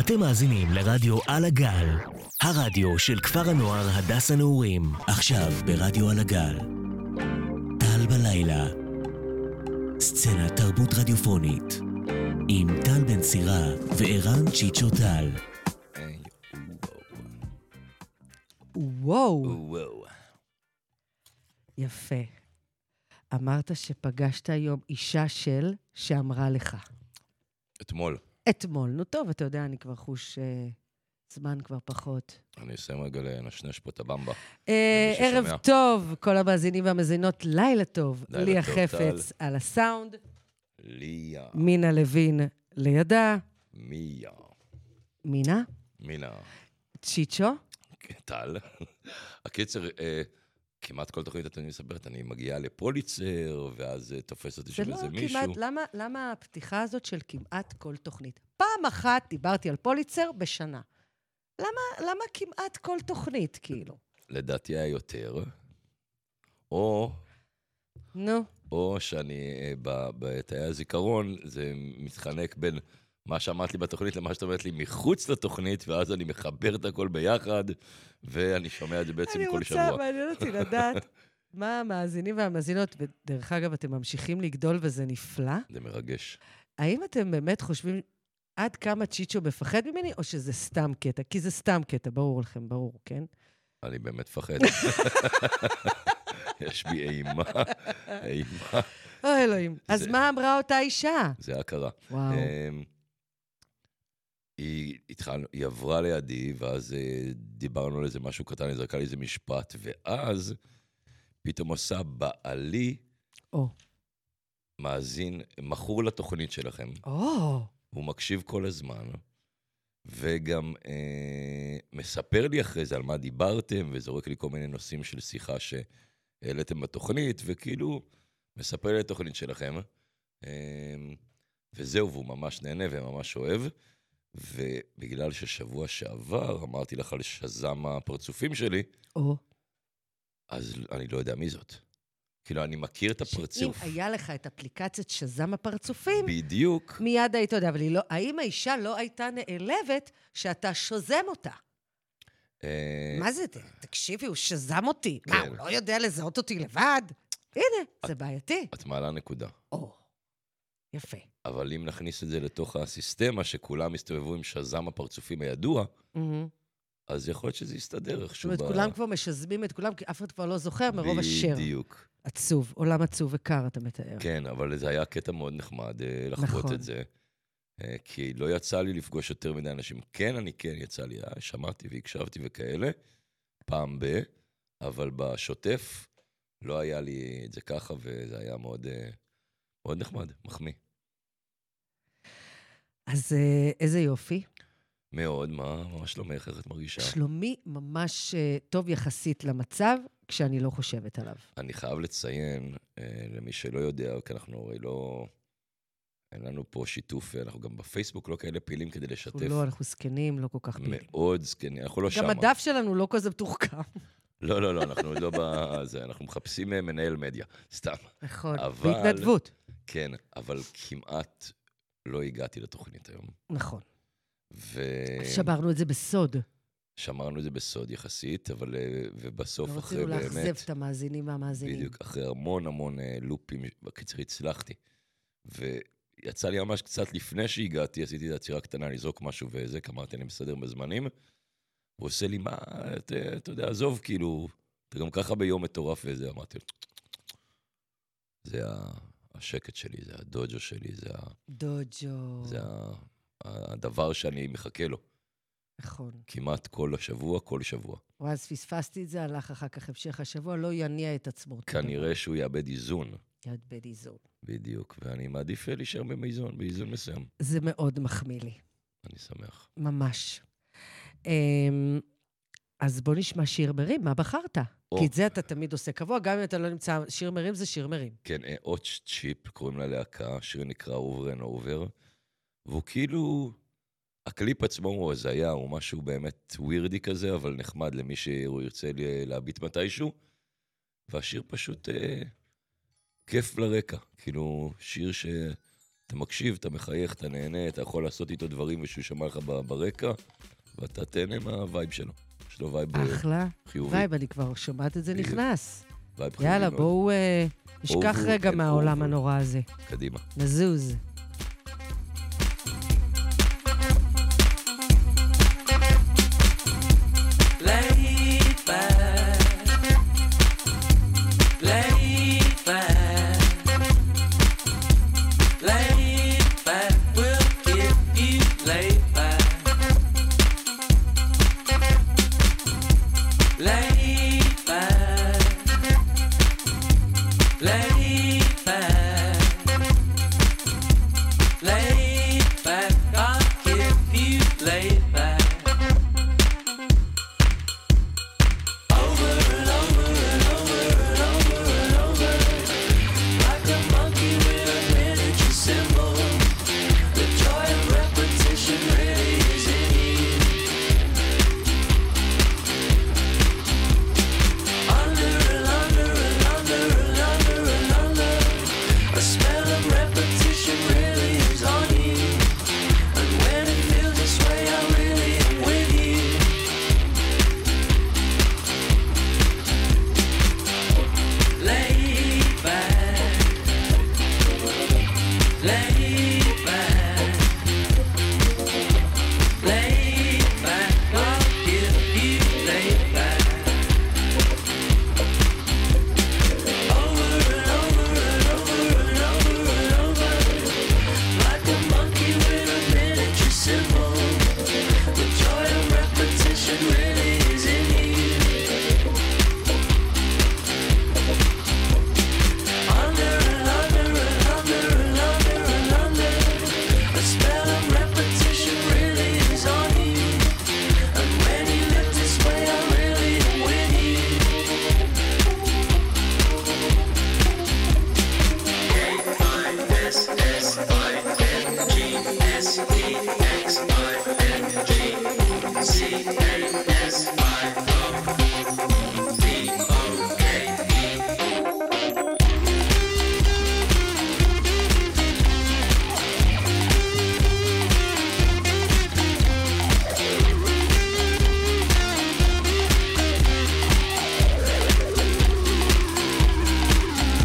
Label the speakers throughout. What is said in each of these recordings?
Speaker 1: אתם מאזינים לרדיו על הגל, הרדיו של כפר הנוער הדס הנעורים, עכשיו ברדיו על הגל. טל בלילה, סצנת תרבות רדיופונית, עם טל בן סירה וערן צ'יצ'ו טל.
Speaker 2: וואו,
Speaker 3: וואו.
Speaker 2: יפה. אמרת שפגשת היום אישה של שאמרה לך.
Speaker 3: אתמול.
Speaker 2: אתמול. נו טוב, אתה יודע, אני כבר חוש אה, זמן כבר פחות.
Speaker 3: אני אסיים רגע לנשנש פה את הבמבה.
Speaker 2: אה,
Speaker 3: למי ששומע.
Speaker 2: ערב טוב, כל המאזינים והמאזינות, לילה טוב.
Speaker 3: לילה
Speaker 2: ליה
Speaker 3: טוב,
Speaker 2: חפץ על הסאונד,
Speaker 3: ליה.
Speaker 2: מינה לוין לידה,
Speaker 3: מיה.
Speaker 2: מינה,
Speaker 3: מינה.
Speaker 2: צ'יצ'ו.
Speaker 3: טל. הקיצר, אה, כמעט כל תוכנית אתם מספרת, אני מגיעה לפוליצר, ואז אה, תופס אותי
Speaker 2: זה
Speaker 3: של
Speaker 2: לא
Speaker 3: איזה
Speaker 2: כמעט,
Speaker 3: מישהו.
Speaker 2: למה, למה הפתיחה הזאת של כמעט כל תוכנית? פעם אחת דיברתי על פוליצר בשנה. למה, למה כמעט כל תוכנית, כאילו?
Speaker 3: לדעתי היה יותר. או,
Speaker 2: נו.
Speaker 3: או שאני, אה, ב- בתאי הזיכרון, זה מתחלק בין מה שאמרת לי בתוכנית למה שאת אומרת לי מחוץ לתוכנית, ואז אני מחבר את הכל ביחד, ואני שומע את זה בעצם
Speaker 2: אני
Speaker 3: כל
Speaker 2: רוצה,
Speaker 3: שבוע.
Speaker 2: מעניין אותי לדעת מה המאזינים והמאזינות, ודרך אגב, אתם ממשיכים לגדול וזה נפלא.
Speaker 3: זה מרגש.
Speaker 2: האם אתם באמת חושבים עד כמה צ'יצ'ו מפחד ממני, או שזה סתם קטע? כי זה סתם קטע, ברור לכם, ברור, כן?
Speaker 3: אני באמת מפחד. יש בי אימה, אימה.
Speaker 2: אוי, אה, אלוהים. אז
Speaker 3: זה-
Speaker 2: מה אמרה אותה אישה?
Speaker 3: זה הכרה.
Speaker 2: וואו.
Speaker 3: אמ, היא, התחלנו, היא עברה לידי, ואז אה, דיברנו על איזה משהו קטן, היא זרקה לי איזה משפט, ואז פתאום עושה בעלי
Speaker 2: או.
Speaker 3: מאזין, מכור לתוכנית שלכם.
Speaker 2: או,
Speaker 3: הוא מקשיב כל הזמן, וגם אה, מספר לי אחרי זה על מה דיברתם, וזורק לי כל מיני נושאים של שיחה שהעליתם בתוכנית, וכאילו, מספר לי על התוכנית שלכם. אה, וזהו, והוא ממש נהנה וממש אוהב. ובגלל ששבוע שעבר אמרתי לך על שזם הפרצופים שלי,
Speaker 2: או.
Speaker 3: אז אני לא יודע מי זאת. כאילו, אני מכיר את
Speaker 2: שאם
Speaker 3: הפרצוף.
Speaker 2: היה לך את אפליקציית שזם הפרצופים,
Speaker 3: בדיוק.
Speaker 2: מיד היית יודע, אבל היא לא- האם האישה לא הייתה נעלבת שאתה שוזם אותה?
Speaker 3: אה,
Speaker 2: מה זה? ת- תקשיבי, הוא שזם אותי. מה,
Speaker 3: כן.
Speaker 2: הוא לא יודע לזהות אותי לבד? הנה, זה בעייתי.
Speaker 3: את מעלה נקודה.
Speaker 2: או, יפה.
Speaker 3: אבל אם נכניס את זה לתוך הסיסטמה, שכולם יסתובבו עם שזם הפרצופים הידוע, אז יכול להיות שזה יסתדר
Speaker 2: זאת
Speaker 3: איכשהו.
Speaker 2: אומרת, כולם כבר משזמים את כולם, כי אף אחד כבר לא זוכר מרוב אשר.
Speaker 3: בדיוק.
Speaker 2: עצוב, עולם עצוב וקר, אתה מתאר.
Speaker 3: כן, אבל זה היה קטע מאוד נחמד אה, לחוות
Speaker 2: נכון.
Speaker 3: את זה. אה, כי לא יצא לי לפגוש יותר מדי אנשים. כן, אני כן, יצא לי, אה, שמעתי והקשבתי וכאלה, פעם ב... אבל בשוטף לא היה לי את זה ככה, וזה היה מאוד, אה, מאוד נחמד, מחמיא.
Speaker 2: אז אה, איזה יופי.
Speaker 3: מאוד, מה, מה שלומך, איך את מרגישה?
Speaker 2: שלומי ממש אה, טוב יחסית למצב, כשאני לא חושבת עליו.
Speaker 3: אני חייב לציין, אה, למי שלא יודע, כי אנחנו הרי לא... אין לנו פה שיתוף, אנחנו גם בפייסבוק לא כאלה פעילים כדי
Speaker 2: אנחנו
Speaker 3: לשתף.
Speaker 2: לא, אנחנו זקנים, לא כל כך פעילים.
Speaker 3: מאוד זקנים, אנחנו לא
Speaker 2: גם
Speaker 3: שמה.
Speaker 2: הדף שלנו לא כזה מתוחכם.
Speaker 3: לא, לא, לא, אנחנו עוד לא בזה, אנחנו מחפשים אה, מנהל מדיה, סתם.
Speaker 2: נכון,
Speaker 3: אבל-
Speaker 2: בהתנדבות.
Speaker 3: כן, אבל כמעט לא הגעתי לתוכנית היום.
Speaker 2: נכון.
Speaker 3: ושמרנו
Speaker 2: שברנו את זה בסוד.
Speaker 3: לא את זה בסוד יחסית, אבל... אה, ובסוף,
Speaker 2: לא
Speaker 3: אחרי
Speaker 2: רצינו
Speaker 3: באמת...
Speaker 2: לאכזב את המאזינים והמאזינים.
Speaker 3: בדיוק, אחרי המון המון אה, לופים, בקיצור הצלחתי. ויצא לי ממש קצת לפני שהגעתי, עשיתי את העצירה הקטנה לזרוק משהו וזה, כי אמרתי, אני מסדר בזמנים. הוא עושה לי, מה, את, אה, אתה יודע, עזוב, כאילו, אתה גם ככה ביום מטורף וזה, אמרתי לו, זה ה- השקט שלי, זה הדוג'ו שלי, זה, ה,
Speaker 2: דוג'ו.
Speaker 3: זה ה, הדבר שאני מחכה לו
Speaker 2: נכון.
Speaker 3: כמעט כל השבוע, כל שבוע.
Speaker 2: וואי, אז פספסתי את זה, הלך אחר כך המשך השבוע, לא יניע את עצמו. אותו דבר.
Speaker 3: כנראה שהוא יאבד איזון,
Speaker 2: יד בן איזון.
Speaker 3: בדיוק, ואני מעדיף אה, להישאר באיזון, באיזון מסוים.
Speaker 2: זה מאוד מחמיא לי,
Speaker 3: אני שמח.
Speaker 2: ממש. אמ, אז בוא נשמע שיר מרים, מה בחרת?
Speaker 3: או.
Speaker 2: כי את זה אתה תמיד עושה קבוע, גם אם אתה לא נמצא, שיר מרים זה שיר מרים.
Speaker 3: כן, אה, עוד צ'יפ, קוראים ללהקה, שיר נקרא Over and Over, והוא כאילו... הקליפ עצמו הוא הזיה, הוא משהו באמת ווירדי כזה, אבל נחמד למי שהוא ירצה ל- להביט מתישהו. והשיר פשוט אה, כיף לרקע, כאילו, שיר ש... אתה מקשיב, אתה מחייך, אתה נהנה, אתה יכול לעשות איתו דברים ושהוא שמע לך ב- ברקע, ואתה תהנה מהווייב שלו. יש לו וייב אה,
Speaker 2: אחלה.
Speaker 3: חיובי,
Speaker 2: וייב, אני כבר שומעת את זה
Speaker 3: בדיוק.
Speaker 2: נכנס.
Speaker 3: וייב חיובי.
Speaker 2: יאללה,
Speaker 3: מאוד.
Speaker 2: בואו אה, נשכח
Speaker 3: אובר,
Speaker 2: רגע
Speaker 3: כן,
Speaker 2: מהעולם
Speaker 3: אובר.
Speaker 2: הנורא הזה.
Speaker 3: קדימה.
Speaker 2: נזוז.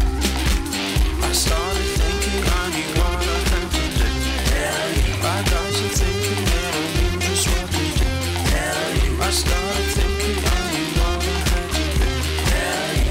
Speaker 4: I started thinking I knew what I had to do. I got to thinking that I knew just what to do. I started thinking I knew what I had to do.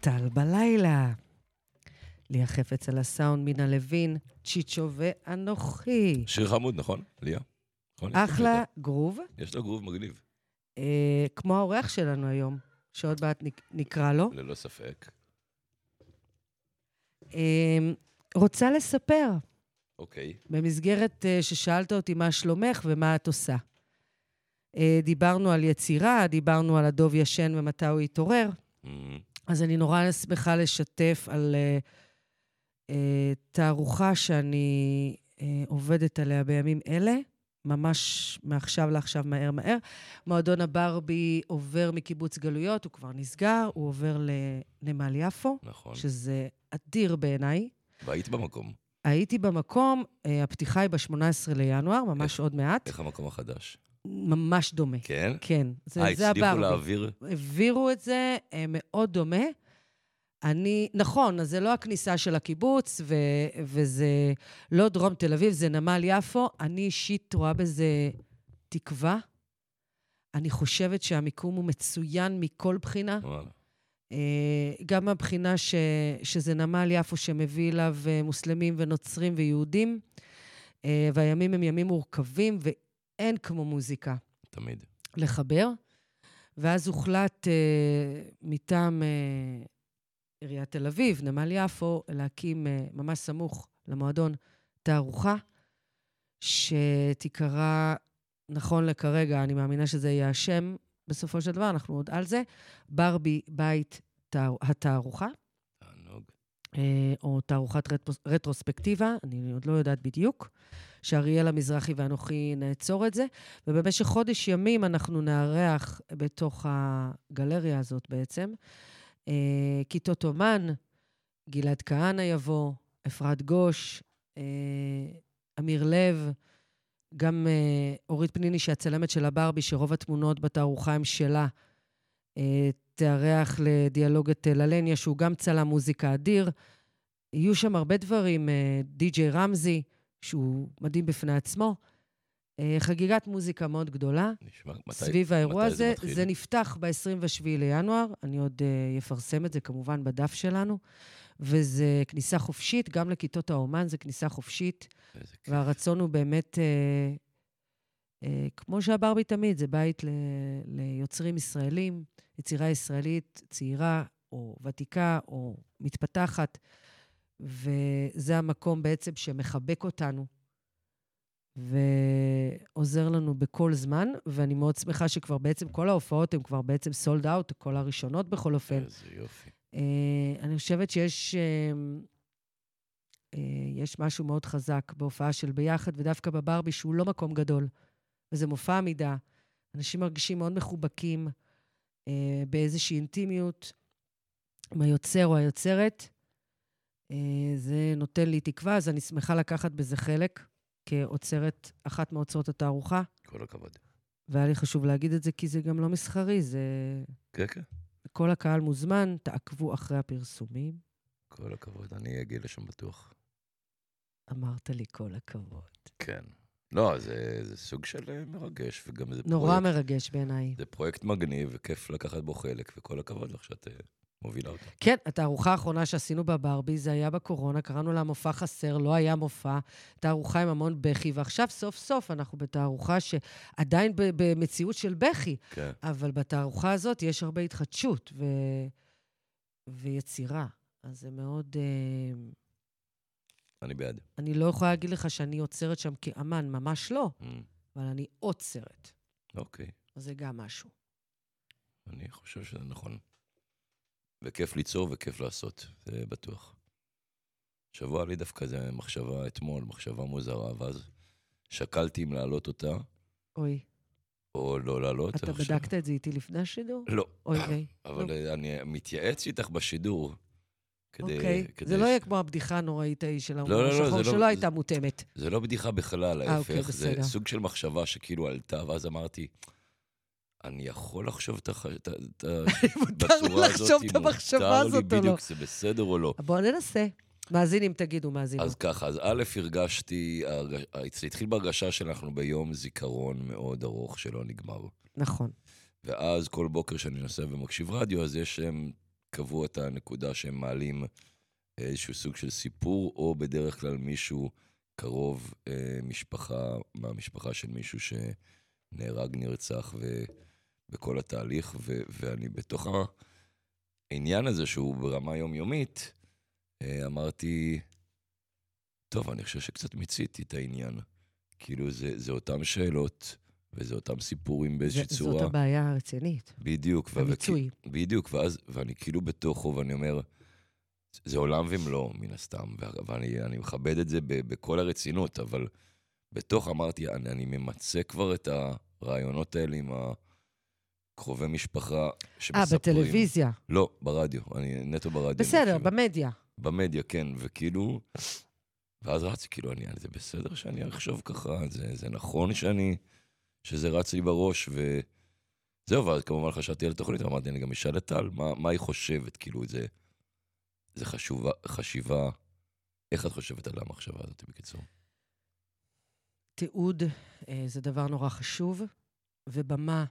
Speaker 2: טל בלילה. ליה חפץ על הסאונד, מינה לוין, צ'יצ'ו ואנוכי.
Speaker 3: שיר חמוד, נכון? ליה? נכון? יש לו
Speaker 2: אחלה
Speaker 3: קטע.
Speaker 2: גרוב,
Speaker 3: יש לו גרוב מגניב,
Speaker 2: אה, כמו האורח שלנו היום, שעוד מעט נק- נקרא לו.
Speaker 3: ללא ספק.
Speaker 2: אה, רוצה לספר,
Speaker 3: אוקיי.
Speaker 2: במסגרת אה, ששאלת אותי מה שלומך ומה את עושה. אה, דיברנו על יצירה, דיברנו על הדוב ישן ומתי הוא יתעורר.
Speaker 3: אמ,
Speaker 2: אז אני נורא שמחה לשתף על אה, אה, תערוכה שאני אה, עובדת עליה בימים אלה, ממש מעכשיו לעכשיו, מהר מהר. מועדון הברבי עובר מקיבוץ גלויות, הוא כבר נסגר, הוא עובר לנמל יפו,
Speaker 3: נכון.
Speaker 2: שזה אדיר בעיניי.
Speaker 3: והיית במקום.
Speaker 2: הייתי במקום, אה, הפתיחה היא ב-18 לינואר, ממש עוד מעט.
Speaker 3: איך המקום החדש?
Speaker 2: ממש דומה.
Speaker 3: כן?
Speaker 2: כן, זה,
Speaker 3: אה,
Speaker 2: זה
Speaker 3: הצליחו
Speaker 2: הברבי.
Speaker 3: להעביר?
Speaker 2: העבירו את זה, אה, מאוד דומה. אני, נכון, אז זה לא הכניסה של הקיבוץ, ו, וזה לא דרום תל אביב, זה נמל יפו. אני אישית רואה בזה תקווה. אני חושבת שהמיקום הוא מצוין מכל בחינה.
Speaker 3: וואלה.
Speaker 2: אה, אה, גם מהבחינה ש, שזה נמל יפו שמביא אליו אה, מוסלמים ונוצרים ויהודים, אה, והימים הם ימים מורכבים, ואין כמו מוזיקה.
Speaker 3: תמיד.
Speaker 2: לחבר, ואז הוחלט אה, מטעם אה, עיריית תל אביב, נמל יפו, להקים אה, ממש סמוך למועדון תערוכה, שתיקרא, נכון לכרגע, אני מאמינה שזה יהיה השם בסופו של דבר, אנחנו עוד על זה, ברבי בית תער, התערוכה.
Speaker 3: תענוג.
Speaker 2: אה, או תערוכת רטפוס- רטרוספקטיבה, אני עוד לא יודעת בדיוק, שאריאל המזרחי ואנוכי נעצור את זה, ובמשך חודש ימים אנחנו נארח בתוך הגלריה הזאת בעצם. אה, כיתות אומן, גלעד כהנא יבוא, אפרת גוש, אה, אמיר לב, גם אה, אורית פניני, שהיא הצלמת של הברבי, שרוב התמונות בתערוכה הם שלה, אה, תארח לדיאלוג את אה, ללניה, שהוא גם צלם מוזיקה אדיר. יהיו שם הרבה דברים, אה, די.ג'יי רמזי, שהוא מדהים בפני עצמו. אה, חגיגת מוזיקה מאוד גדולה
Speaker 3: נשמע, מתי...
Speaker 2: סביב האירוע
Speaker 3: מתי זה
Speaker 2: הזה.
Speaker 3: מתחיל?
Speaker 2: זה נפתח ב-27 לינואר, אני עוד אה, אפרסם את זה כמובן בדף שלנו, וזה כניסה חופשית, גם לכיתות האומן זה כניסה חופשית.
Speaker 3: איזה כיף.
Speaker 2: והרצון הוא באמת, אה, אה, כמו שהברבי תמיד, זה בית ל, ליוצרים ישראלים, יצירה ישראלית צעירה או ותיקה או מתפתחת, וזה המקום בעצם שמחבק אותנו. ועוזר לנו בכל זמן, ואני מאוד שמחה שכבר בעצם כל ההופעות הן כבר בעצם סולד אאוט, כל הראשונות בכל אופן.
Speaker 3: איזה יופי.
Speaker 2: אה, אני חושבת שיש אה, אה, יש משהו מאוד חזק בהופעה של ביחד, ודווקא בברבי, שהוא לא מקום גדול, וזה מופע עמידה. אנשים מרגישים מאוד מחובקים אה, באיזושהי אינטימיות עם היוצר או היוצרת. אה, זה נותן לי תקווה, אז אני שמחה לקחת בזה חלק כאוצרת אחת מאוצרות התערוכה,
Speaker 3: כל הכבוד.
Speaker 2: והיה לי חשוב להגיד את זה, כי זה גם לא מסחרי, זה...
Speaker 3: כן, כן.
Speaker 2: כל הקהל מוזמן, תעקבו אחרי הפרסומים.
Speaker 3: כל הכבוד. אני אגיע לשם בטוח.
Speaker 2: אמרת לי כל הכבוד.
Speaker 3: כן. לא, זה, זה סוג של אה, מרגש, וגם זה
Speaker 2: נורא
Speaker 3: פרויקט,
Speaker 2: מרגש בעיניי.
Speaker 3: זה פרויקט מגניב, וכיף לקחת בו חלק, וכל הכבוד לך שאת אה, מובילה אותו.
Speaker 2: כן, התערוכה האחרונה שעשינו בברבי, זה היה בקורונה, קראנו לה מופע חסר, לא היה מופע, תערוכה עם המון בכי, ועכשיו סוף סוף אנחנו בתערוכה שעדיין ב- במציאות של בכי,
Speaker 3: כן.
Speaker 2: אבל בתערוכה הזאת יש הרבה התחדשות ו... ויצירה. אז זה מאוד... אה...
Speaker 3: אני בעד.
Speaker 2: אני לא יכולה להגיד לך שאני עוצרת שם כאמן, ממש לא,
Speaker 3: Mm,
Speaker 2: אבל אני עוצרת.
Speaker 3: אוקיי.
Speaker 2: אז זה גם משהו.
Speaker 3: אני חושב שזה נכון. וכיף ליצור וכיף לעשות, זה בטוח. שבוע לי דווקא זה מחשבה אתמול, מחשבה מוזרה, ואז שקלתי אם להעלות אותה
Speaker 2: אוי,
Speaker 3: או לא להעלות.
Speaker 2: אתה
Speaker 3: אני חושב-
Speaker 2: בדקת את זה איתי לפני השידור?
Speaker 3: לא,
Speaker 2: אוי, לא. אוי.
Speaker 3: אבל אה, אני מתייעץ איתך בשידור. כדי-
Speaker 2: אוקיי,
Speaker 3: כדי
Speaker 2: זה לא
Speaker 3: ש-
Speaker 2: יהיה כמו הבדיחה הנוראית ההיא של
Speaker 3: לא,
Speaker 2: ההומור
Speaker 3: לא, זה
Speaker 2: השחור,
Speaker 3: לא-
Speaker 2: שלא
Speaker 3: זה-
Speaker 2: הייתה מותאמת.
Speaker 3: זה לא בדיחה בכלל,
Speaker 2: אה, אוקיי,
Speaker 3: ההפך. זה
Speaker 2: בסדר.
Speaker 3: סוג של מחשבה שכאילו עלתה, ואז אמרתי, אני יכול לחשוב את הח- את ה... את ה- בצורה הזאת,
Speaker 2: לחשוב את
Speaker 3: אם
Speaker 2: המחשבה
Speaker 3: מותר לי
Speaker 2: הזאת או לא.
Speaker 3: בדיוק, זה בסדר או לא.
Speaker 2: בואו ננסה. מאזינים, תגידו, מאזינים.
Speaker 3: אז ככה, אז א', הרגשתי, הרג- זה התחיל בהרגשה שאנחנו ביום זיכרון מאוד ארוך שלא נגמר.
Speaker 2: נכון.
Speaker 3: ואז כל בוקר שאני נוסע ומקשיב רדיו, אז יש הם קבעו את הנקודה שהם מעלים אה, איזשהו סוג של סיפור, או בדרך כלל מישהו קרוב, אה, משפחה, מהמשפחה של מישהו שנהרג, נרצח, ו, בכל התהליך, ו, ואני בתוך העניין הזה שהוא ברמה יומיומית, אה, אמרתי, טוב, אני חושב שקצת מיציתי את העניין. כאילו, זה, זה אותם שאלות, וזה אותם סיפורים
Speaker 2: זה-
Speaker 3: באיזושהי צורה.
Speaker 2: זאת הבעיה הרצינית.
Speaker 3: בדיוק. ו-
Speaker 2: המיצוי.
Speaker 3: וכי- בדיוק, ואז, ואני כאילו בתוכו, ואני אומר, זה עולם ומלואו, מן הסתם, ו- ואני אני מכבד את זה ב- בכל הרצינות, אבל בתוך אמרתי, אני, אני ממצה כבר את הרעיונות האלה עם הקרובי משפחה
Speaker 2: אה,
Speaker 3: שמספרים.
Speaker 2: בטלוויזיה.
Speaker 3: לא, ברדיו, אני כאילו- נטו ברדיו.
Speaker 2: בסדר,
Speaker 3: מקשיב.
Speaker 2: במדיה.
Speaker 3: במדיה, כן, וכאילו... ואז רצתי, כאילו, אני, זה בסדר שאני אחשוב ככה, זה, זה נכון שאני... שזה רץ לי בראש, וזהו, ואז כמובן חשבתי על התוכנית, ואמרתי, אני גם אשאל את טל, מה, מה היא חושבת, כאילו, זה... זה חשובה, חשיבה... איך את חושבת על המחשבה הזאת, בקיצור?
Speaker 2: תיעוד אה, זה דבר נורא חשוב, ובמה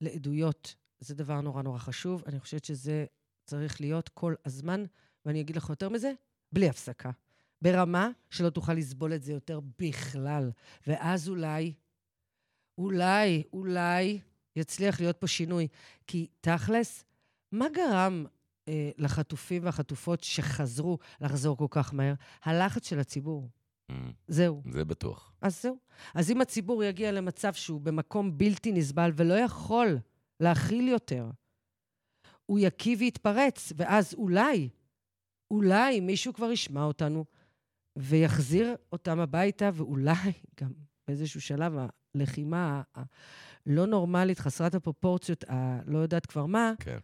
Speaker 2: לעדויות זה דבר נורא נורא חשוב. אני חושבת שזה צריך להיות כל הזמן, ואני אגיד לך יותר מזה, בלי הפסקה. ברמה שלא תוכל לסבול את זה יותר בכלל. ואז אולי, אולי, אולי יצליח להיות פה שינוי. כי תכלס, מה גרם אה, לחטופים והחטופות שחזרו לחזור כל כך מהר? הלחץ של הציבור.
Speaker 3: אמ,
Speaker 2: זהו.
Speaker 3: זה בטוח.
Speaker 2: אז זהו. אז אם הציבור יגיע למצב שהוא במקום בלתי נסבל ולא יכול להכיל יותר, הוא יקיא ויתפרץ, ואז אולי, אולי מישהו כבר ישמע אותנו ויחזיר אותם הביתה, ואולי גם באיזשהו שלב הלחימה ה- ה- לא נורמלית, חסרת הפרופורציות, הלא יודעת כבר מה,
Speaker 3: כן.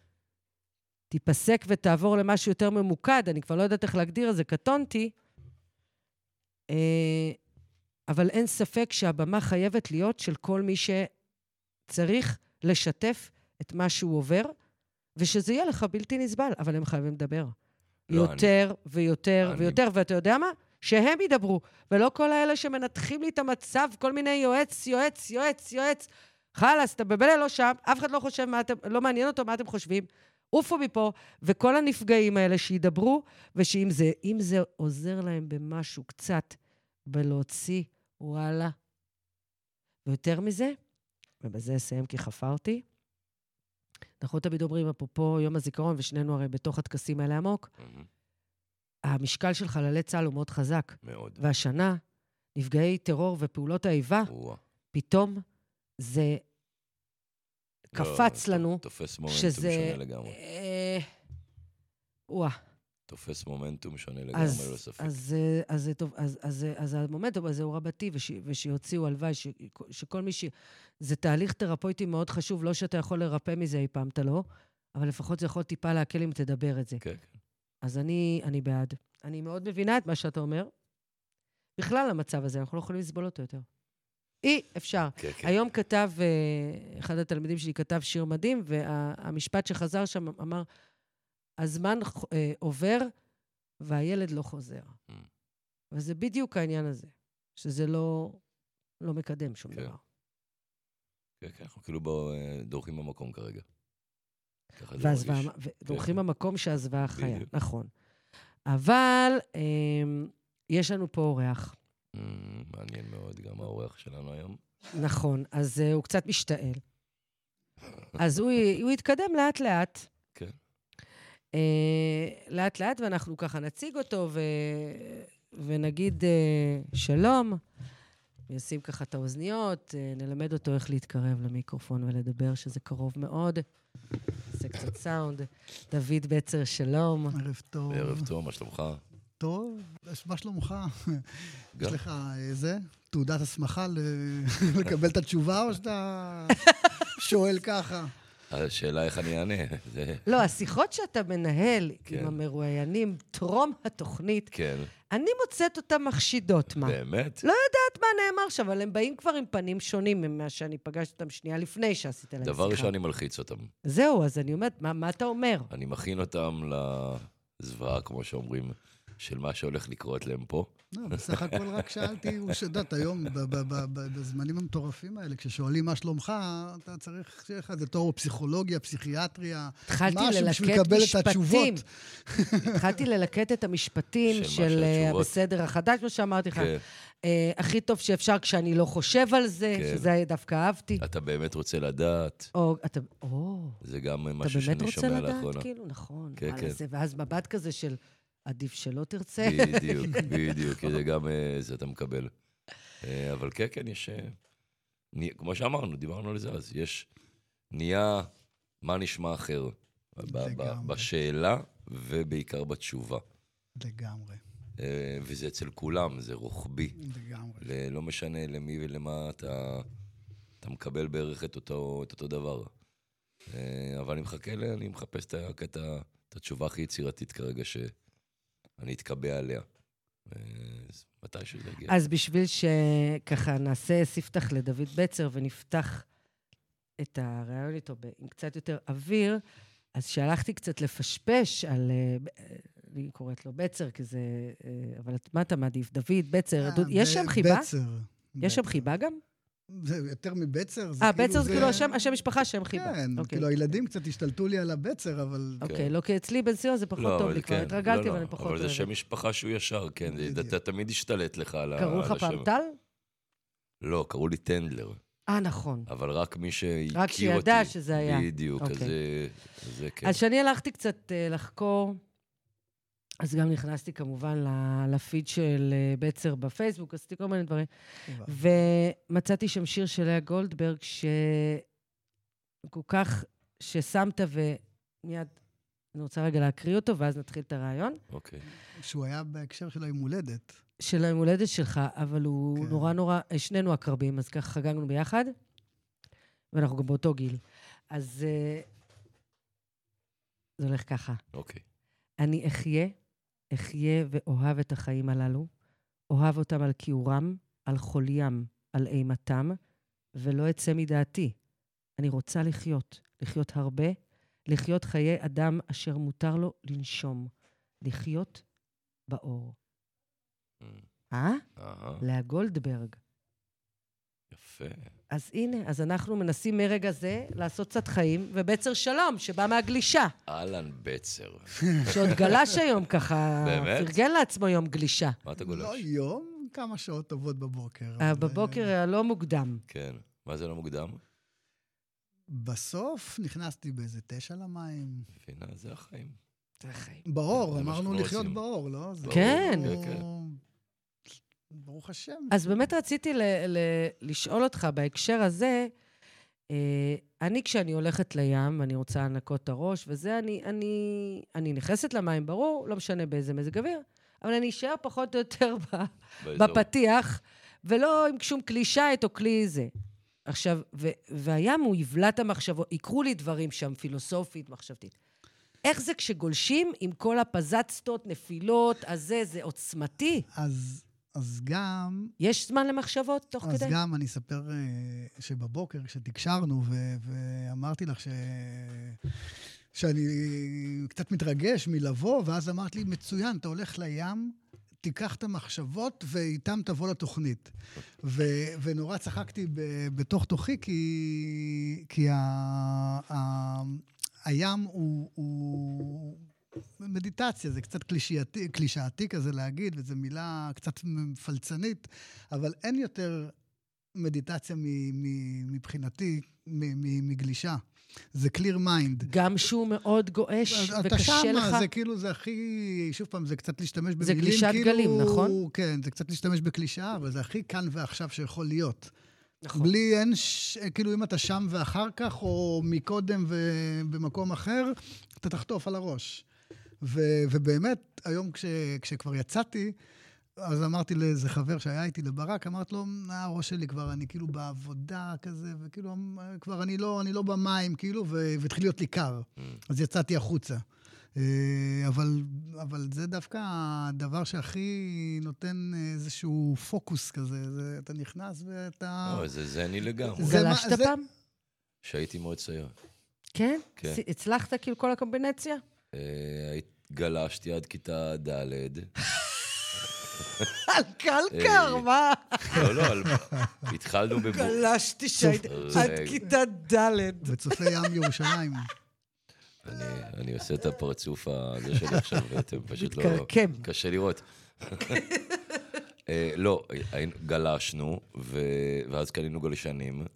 Speaker 2: תיפסק ותעבור למשהו יותר ממוקד, אני כבר לא יודעת איך להגדיר את זה, קטונתי. אה, אבל אין ספק שהבמה חייבת להיות של כל מי שצריך לשתף את מה שהוא עובר, ושזה יהיה לך בלתי נסבל, אבל הם חייבים לדבר.
Speaker 3: לא, אני-
Speaker 2: יותר ויותר
Speaker 3: אני-
Speaker 2: ויותר, ואתה יודע מה? שהם ידברו, ולא כל האלה שמנתחים לי את המצב, כל מיני יועץ, יועץ, יועץ, יועץ. חלאס, אתה בבלה לא שם, אף אחד לא חושב מה אתם, לא מעניין אותו מה אתם חושבים. עופו מפה, וכל הנפגעים האלה שידברו, ושאם זה, אם זה עוזר להם במשהו קצת, בלהוציא, וואלה. ויותר מזה, ובזה אסיים כי חפרתי, אנחנו תמיד אומרים, אפרופו יום הזיכרון, ושנינו הרי בתוך הטקסים האלה עמוק,
Speaker 3: אמ,
Speaker 2: המשקל של חללי צה"ל הוא מאוד חזק.
Speaker 3: מאוד.
Speaker 2: והשנה, נפגעי טרור ופעולות האיבה,
Speaker 3: וואו.
Speaker 2: פתאום זה
Speaker 3: לא,
Speaker 2: קפץ
Speaker 3: ת-
Speaker 2: לנו,
Speaker 3: תופס מומנטום
Speaker 2: שזה-
Speaker 3: שונה לגמרי.
Speaker 2: אה, וואה,
Speaker 3: תופס מומנטום שונה לגמרי,
Speaker 2: אז,
Speaker 3: ללא ספק.
Speaker 2: אז, אה, אז, זה טוב, אז, אז, אה, אז המומנטום הזה הוא רבתי, וש, ושיוציאו, הלוואי, ש- שכל מי ש... זה תהליך תרפויטי מאוד חשוב, לא שאתה יכול לרפא מזה אי פעם, אתה לא, אבל לפחות זה יכול טיפה להקל אם תדבר את זה.
Speaker 3: כן, כן.
Speaker 2: אז אני, אני בעד. אני מאוד מבינה את מה שאתה אומר. בכלל, המצב הזה, אנחנו לא יכולים לסבול אותו יותר. אי אפשר.
Speaker 3: כן, כן.
Speaker 2: היום כתב, אה, אחד התלמידים שלי כתב שיר מדהים, והמשפט שחזר שם אמר, הזמן ח- אה, עובר והילד לא חוזר.
Speaker 3: Mm.
Speaker 2: וזה בדיוק העניין הזה, שזה לא, לא מקדם שום
Speaker 3: כן.
Speaker 2: דבר.
Speaker 3: כן, כן, אנחנו כאילו בו- אה, דורכים במקום כרגע. ככה זה
Speaker 2: והזוועה,
Speaker 3: מרגיש.
Speaker 2: דורכים במקום שהזוועה חיה,
Speaker 3: בדיוק.
Speaker 2: נכון. אבל אמ, יש לנו פה אורח.
Speaker 3: אמ, מעניין מאוד,
Speaker 2: אה.
Speaker 3: גם האורח שלנו היום.
Speaker 2: נכון, אז uh, הוא קצת משתעל. אז הוא, י- הוא יתקדם לאט-לאט.
Speaker 3: כן.
Speaker 2: Uh, לאט-לאט, ואנחנו ככה נציג אותו ו... ונגיד uh, שלום, נשים ככה את האוזניות, uh, נלמד אותו איך להתקרב למיקרופון ולדבר, שזה קרוב מאוד. נעשה קצת סאונד. דוד בצר, שלום.
Speaker 5: ערב
Speaker 2: אה.
Speaker 5: טוב.
Speaker 3: ערב טוב, מה שלומך?
Speaker 5: טוב, אז מה שלומך? יש
Speaker 3: גם.
Speaker 5: לך אה, זה? תעודת הסמכה ל- לקבל את התשובה, או שאתה שואל ככה?
Speaker 3: השאלה איך אני אענה. זה-
Speaker 2: לא, השיחות שאתה מנהל
Speaker 3: כן.
Speaker 2: עם המרואיינים טרום התוכנית,
Speaker 3: כן.
Speaker 2: אני מוצאת אותן מחשידות, מה?
Speaker 3: באמת?
Speaker 2: לא יודעת מה נאמר שם, אבל הם באים כבר עם פנים שונים ממה שאני פגשתי אותם שנייה לפני שעשית להם שיחה.
Speaker 3: דבר ראשון, אני מלחיץ אותם.
Speaker 2: זהו, אז אני אומרת, מה, מה אתה אומר?
Speaker 3: אני מכין אותם לזוועה, כמו שאומרים, של מה שהולך לקרות להם פה.
Speaker 5: לא, בסך הכל רק שאלתי, הוא שדעת היום, ב- ב- ב- ב- בזמנים המטורפים האלה, כששואלים מה שלומך, אתה צריך שיהיה לך איזה תור בפסיכולוגיה, פסיכיאטריה,
Speaker 2: התחלתי
Speaker 5: משהו בשביל
Speaker 2: ללקט
Speaker 5: לקבל את
Speaker 2: משפטים.
Speaker 5: התשובות.
Speaker 2: התחלתי ללקט את המשפטים
Speaker 3: של מה
Speaker 2: של אה,
Speaker 3: שהתשובות.
Speaker 2: בסדר החדש, מה שאמרתי לך.
Speaker 3: כן.
Speaker 2: אה, הכי טוב שאפשר כשאני לא חושב על זה,
Speaker 3: כן.
Speaker 2: שזה דווקא אהבתי.
Speaker 3: אתה באמת רוצה לדעת,
Speaker 2: או, אתה... או.
Speaker 3: זה גם
Speaker 2: אתה
Speaker 3: משהו
Speaker 2: באמת
Speaker 3: שאני
Speaker 2: רוצה
Speaker 3: שומע
Speaker 2: לדעת?
Speaker 3: לאחרונה.
Speaker 2: כאילו, נכון.
Speaker 3: כן,
Speaker 2: וואלה,
Speaker 3: כן.
Speaker 2: זה- ואז מבט כזה של, עדיף שלא תרצה.
Speaker 3: בדיוק, בדיוק, כי זה גם, אה, זה אתה מקבל. אה, אבל כן, כן, יש... אה, ני- כמו שאמרנו, דיברנו על זה אז, יש... נהיה מה נשמע אחר. ב- ב-
Speaker 5: לגמרי.
Speaker 3: בשאלה ובעיקר בתשובה.
Speaker 5: לגמרי,
Speaker 3: אה, וזה אצל כולם, זה רוחבי.
Speaker 5: לגמרי.
Speaker 3: ל- לא משנה למי ולמה אתה, אתה מקבל בערך את אותו, את אותו דבר. אה, אבל אני מחכה, ל- אני מחפש את הקטע, את התשובה הכי יצירתית כרגע שאני אתקבע עליה. אה, אז מתי שזה יגיע.
Speaker 2: אז בשביל שככה נעשה ספתח לדוד בצר ונפתח את הריאיון איתו ב- עם קצת יותר אוויר, אז שהלכתי קצת לפשפש על... אה, ב- אה, אני קוראת לו בצר, כי זה... אה, אבל את- מה אתה מעדיף? דוד, בצר, דוד, יש שם
Speaker 5: ב-
Speaker 2: חיבה?
Speaker 5: בצר.
Speaker 2: יש שם
Speaker 5: בצר.
Speaker 2: חיבה גם?
Speaker 5: זה יותר מבצר.
Speaker 2: אה, בצר זה
Speaker 5: זה-
Speaker 2: כאילו השם, השם משפחה, שם חיבה.
Speaker 5: כן,
Speaker 2: אוקיי.
Speaker 5: כאילו הילדים קצת השתלטו לי על הבצר, אבל...
Speaker 2: אוקיי, לא, כן. כי אצלי בן סיוע זה פחות טוב לי, כבר התרגלתי ואני פחות
Speaker 3: כן. לא, אבל זה
Speaker 2: אוהבת.
Speaker 3: שם משפחה שהוא ישר, כן, זה-
Speaker 5: בדיוק.
Speaker 3: אתה תמיד השתלט לך על ה-
Speaker 2: קראו
Speaker 3: על
Speaker 2: לך פעם
Speaker 3: השם.
Speaker 2: טל?
Speaker 3: לא, קראו לי טנדלר,
Speaker 2: אה, נכון.
Speaker 3: אבל רק מי שהכיר אותי.
Speaker 2: רק שידע שזה היה.
Speaker 3: בדיוק, אז
Speaker 2: אוקיי.
Speaker 3: זה- זה כן.
Speaker 2: אז כשאני הלכתי קצת אה, לחקור, אז גם נכנסתי כמובן ל- לפיד של אה, בצר בפייסבוק, עשיתי כל מיני דברים.
Speaker 5: וואו.
Speaker 2: ומצאתי שם שיר של לאה גולדברג, שכל כך, ששמת ומיד, אני רוצה רגע להקריא אותו, ואז נתחיל את הרעיון.
Speaker 3: אוקיי.
Speaker 5: שהוא היה בהקשר של היום הולדת.
Speaker 2: של היום הולדת שלך, אבל הוא
Speaker 5: כן.
Speaker 2: נורא נורא, אה, שנינו עקרבים, אז ככה חגגנו ביחד, ואנחנו גם באותו גיל. אז אה, זה הולך ככה.
Speaker 3: אוקיי.
Speaker 2: אני אחיה, אחיה ואוהב את החיים הללו, אוהב אותם על כיעורם, על חוליים, על אימתם, ולא אצא מדעתי. אני רוצה לחיות, לחיות הרבה, לחיות חיי אדם אשר מותר לו לנשום, לחיות באור. אה?
Speaker 3: אהה,
Speaker 2: לאה גולדברג.
Speaker 3: יפה.
Speaker 2: אז הנה, אז אנחנו מנסים מרגע זה לעשות קצת חיים, ובצר שלום, שבא מהגלישה,
Speaker 3: אהלן בצר.
Speaker 2: שעוד גלש היום ככה,
Speaker 3: באמת?
Speaker 2: פרגן לעצמו יום גלישה.
Speaker 3: מה אתה
Speaker 5: לא
Speaker 3: גולש?
Speaker 5: יום, כמה שעות טובות בבוקר.
Speaker 2: אה,
Speaker 5: אבל,
Speaker 2: בבוקר הלא מוקדם.
Speaker 3: כן. מה זה לא מוקדם?
Speaker 5: בסוף נכנסתי באיזה תשע למים.
Speaker 3: מבינה, זה החיים.
Speaker 5: באור,
Speaker 3: זה מה
Speaker 5: אמרנו
Speaker 3: שאנחנו
Speaker 5: לחיות
Speaker 3: רוצים.
Speaker 5: באור, לא? זה
Speaker 2: כן.
Speaker 5: כאילו-
Speaker 3: כן,
Speaker 5: ברוך השם.
Speaker 2: אז באמת רציתי ל- ל- לשאול אותך בהקשר הזה, אה, אני כשאני הולכת לים, אני רוצה לנקות את הראש וזה, אני, אני, אני נכנסת למים, ברור, לא משנה באיזה מזג אוויר, אבל אני אשאר פחות או יותר ב-
Speaker 3: באזור.
Speaker 2: בפתיח, ולא עם שום כלי שיט או כלי זה. עכשיו, ו- והים הוא יבלע את המחשבות, יקרו לי דברים שם, פילוסופית, מחשבתית. איך זה כשגולשים עם כל הפזצטות, נפילות, הזה, זה עוצמתי?
Speaker 5: אז, אז גם,
Speaker 2: יש זמן למחשבות תוך
Speaker 5: אז
Speaker 2: כדי?
Speaker 5: גם אני אספר אה, שבבוקר כשתקשרנו ו- ואמרתי לך ש... שאני קצת מתרגש מלבוא, ואז אמרת לי, מצוין, אתה הולך לים, תיקח את המחשבות ואיתם תבוא לתוכנית. ו, ונורא צחקתי ב- בתוך תוכי, כי, כי ה, ה, הים הוא... הוא מדיטציה, זה קצת קלישייתי, קלישאתי כזה להגיד, וזו מילה קצת מפלצנית, אבל אין יותר מדיטציה מ- מ- מבחינתי מ- מ- מגלישה. זה clear mind.
Speaker 2: גם שהוא מאוד גועש
Speaker 5: אתה
Speaker 2: וקשה
Speaker 5: שמה,
Speaker 2: לך.
Speaker 5: זה כאילו, זה הכי, שוב פעם, זה קצת להשתמש במילים,
Speaker 2: זה גלישת
Speaker 5: כאילו,
Speaker 2: גלים, נכון?
Speaker 5: כן, זה קצת להשתמש בקלישאה, אבל זה הכי כאן ועכשיו שיכול להיות.
Speaker 2: נכון.
Speaker 5: בלי, אין, ש... כאילו, אם אתה שם ואחר כך, או מקודם ובמקום אחר, אתה תחטוף על הראש. ו... ובאמת, היום כש... כשכבר יצאתי, אז אמרתי לאיזה חבר שהיה איתי, לברק, אמרתי לו, "אה, הראש שלי כבר, אני כאילו בעבודה כזה, וכאילו, אה, כבר אני לא, אני לא במים, כאילו, ו- והתחיל להיות לי קר. אז יצאתי החוצה. אה, אבל, אבל זה דווקא הדבר שהכי נותן איזשהו פוקוס כזה. זה, אתה נכנס ואתה...
Speaker 3: לא, זה זני לגמרי.
Speaker 5: זה מה-
Speaker 2: גלשת
Speaker 5: זה-
Speaker 2: פעם?
Speaker 3: כשהייתי מאוד צעיר.
Speaker 2: כן?
Speaker 3: כן.
Speaker 2: ס- הצלחת כאילו כל הקומבינציה?
Speaker 3: אה, היית- גלשתי עד כיתה ד'.
Speaker 2: על קלקר,
Speaker 3: אה,
Speaker 2: מה?
Speaker 3: לא, לא, על- התחלנו בבור...
Speaker 2: גלשתי שהייתי עד
Speaker 3: רגע.
Speaker 2: כיתה ד'.
Speaker 5: בצופי ים ירושלים.
Speaker 3: אני- אני עושה את הפרצוף הזה שלי עכשיו, ואתם פשוט לא...
Speaker 2: מתקרקם.
Speaker 3: קשה לראות. אה, לא, היינו- גלשנו, ו- ואז קנינו גלשנים,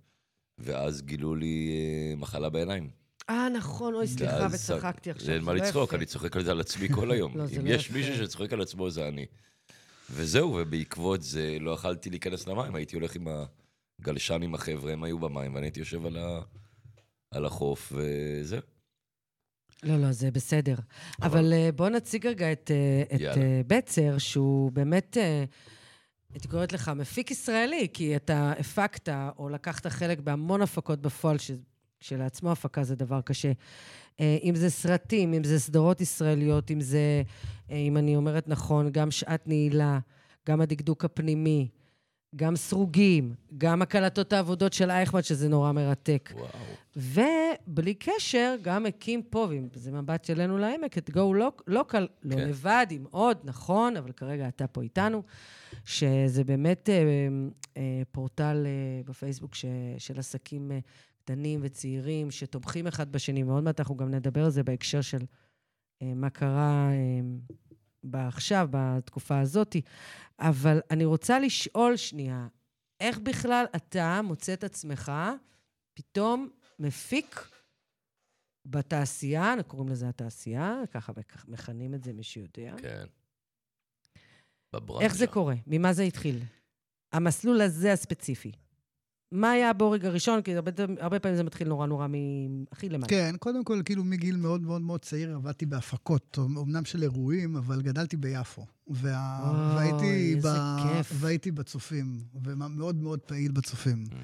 Speaker 3: ואז גילו לי אה, מחלה בעיניים.
Speaker 2: אה, נכון, אוי, סליחה,
Speaker 3: ואז
Speaker 2: וצחקתי
Speaker 3: ש-
Speaker 2: עכשיו.
Speaker 3: אין מה
Speaker 2: לא
Speaker 3: לצחוק,
Speaker 2: יפה.
Speaker 3: אני צוחק על זה על עצמי כל היום.
Speaker 2: לא, זה
Speaker 3: אם
Speaker 2: לא
Speaker 3: יש
Speaker 2: יפה.
Speaker 3: מישהו שצוחק על עצמו, זה אני. וזהו, ובעקבות זה לא יכלתי להיכנס למים, הייתי הולך עם הגלשן עם החבר'ה, הם היו במים, ואני הייתי יושב על ה- על החוף, וזהו.
Speaker 2: לא, לא, זה בסדר. אבל אה, בוא נציג רגע את אה, את,
Speaker 3: יאללה.
Speaker 2: אה, בצר, שהוא באמת, אה, הייתי קוראת לך מפיק ישראלי, כי אתה הפקת או לקחת חלק בהמון הפקות בפועל, ש- כשלעצמו הפקה זה דבר קשה. אה, אם זה סרטים, אם זה סדרות ישראליות, אם זה, אה, אם אני אומרת נכון, גם שעת נעילה, גם הדקדוק הפנימי. גם סרוגים, גם הקלטות העבודות של אייכמן, שזה נורא מרתק.
Speaker 3: וואו.
Speaker 2: ובלי קשר, גם הקים פה, וזה מבט שלנו לעמק, את גו לוקל, לא
Speaker 3: כן.
Speaker 2: לבד, עם עוד, נכון, אבל כרגע אתה פה איתנו, שזה באמת אה, אה, פורטל אה, בפייסבוק ש, של עסקים אה, קטנים וצעירים שתומכים אחד בשני, ועוד מעט אנחנו גם נדבר על זה בהקשר של אה, מה קרה אה, בעכשיו, בתקופה הזאת. אבל אני רוצה לשאול שנייה, איך בכלל אתה מוצא את עצמך פתאום מפיק בתעשייה, אנחנו קוראים לזה התעשייה, ככה מכ- מכנים את זה, מי שיודע.
Speaker 3: כן. בברנז'ה.
Speaker 2: איך זה קורה? ממה זה התחיל? המסלול הזה הספציפי. מה היה הבורג הראשון? כי הרבה, הרבה פעמים זה מתחיל נורא נורא מהכי למטה.
Speaker 5: כן, קודם כל, כאילו מגיל מאוד מאוד מאוד צעיר עבדתי בהפקות, אמנם של אירועים, אבל גדלתי ביפו. וה...
Speaker 2: אוי,
Speaker 5: והייתי,
Speaker 2: איזה כיף.
Speaker 5: והייתי בצופים, ומאוד מאוד פעיל בצופים.
Speaker 2: Mm.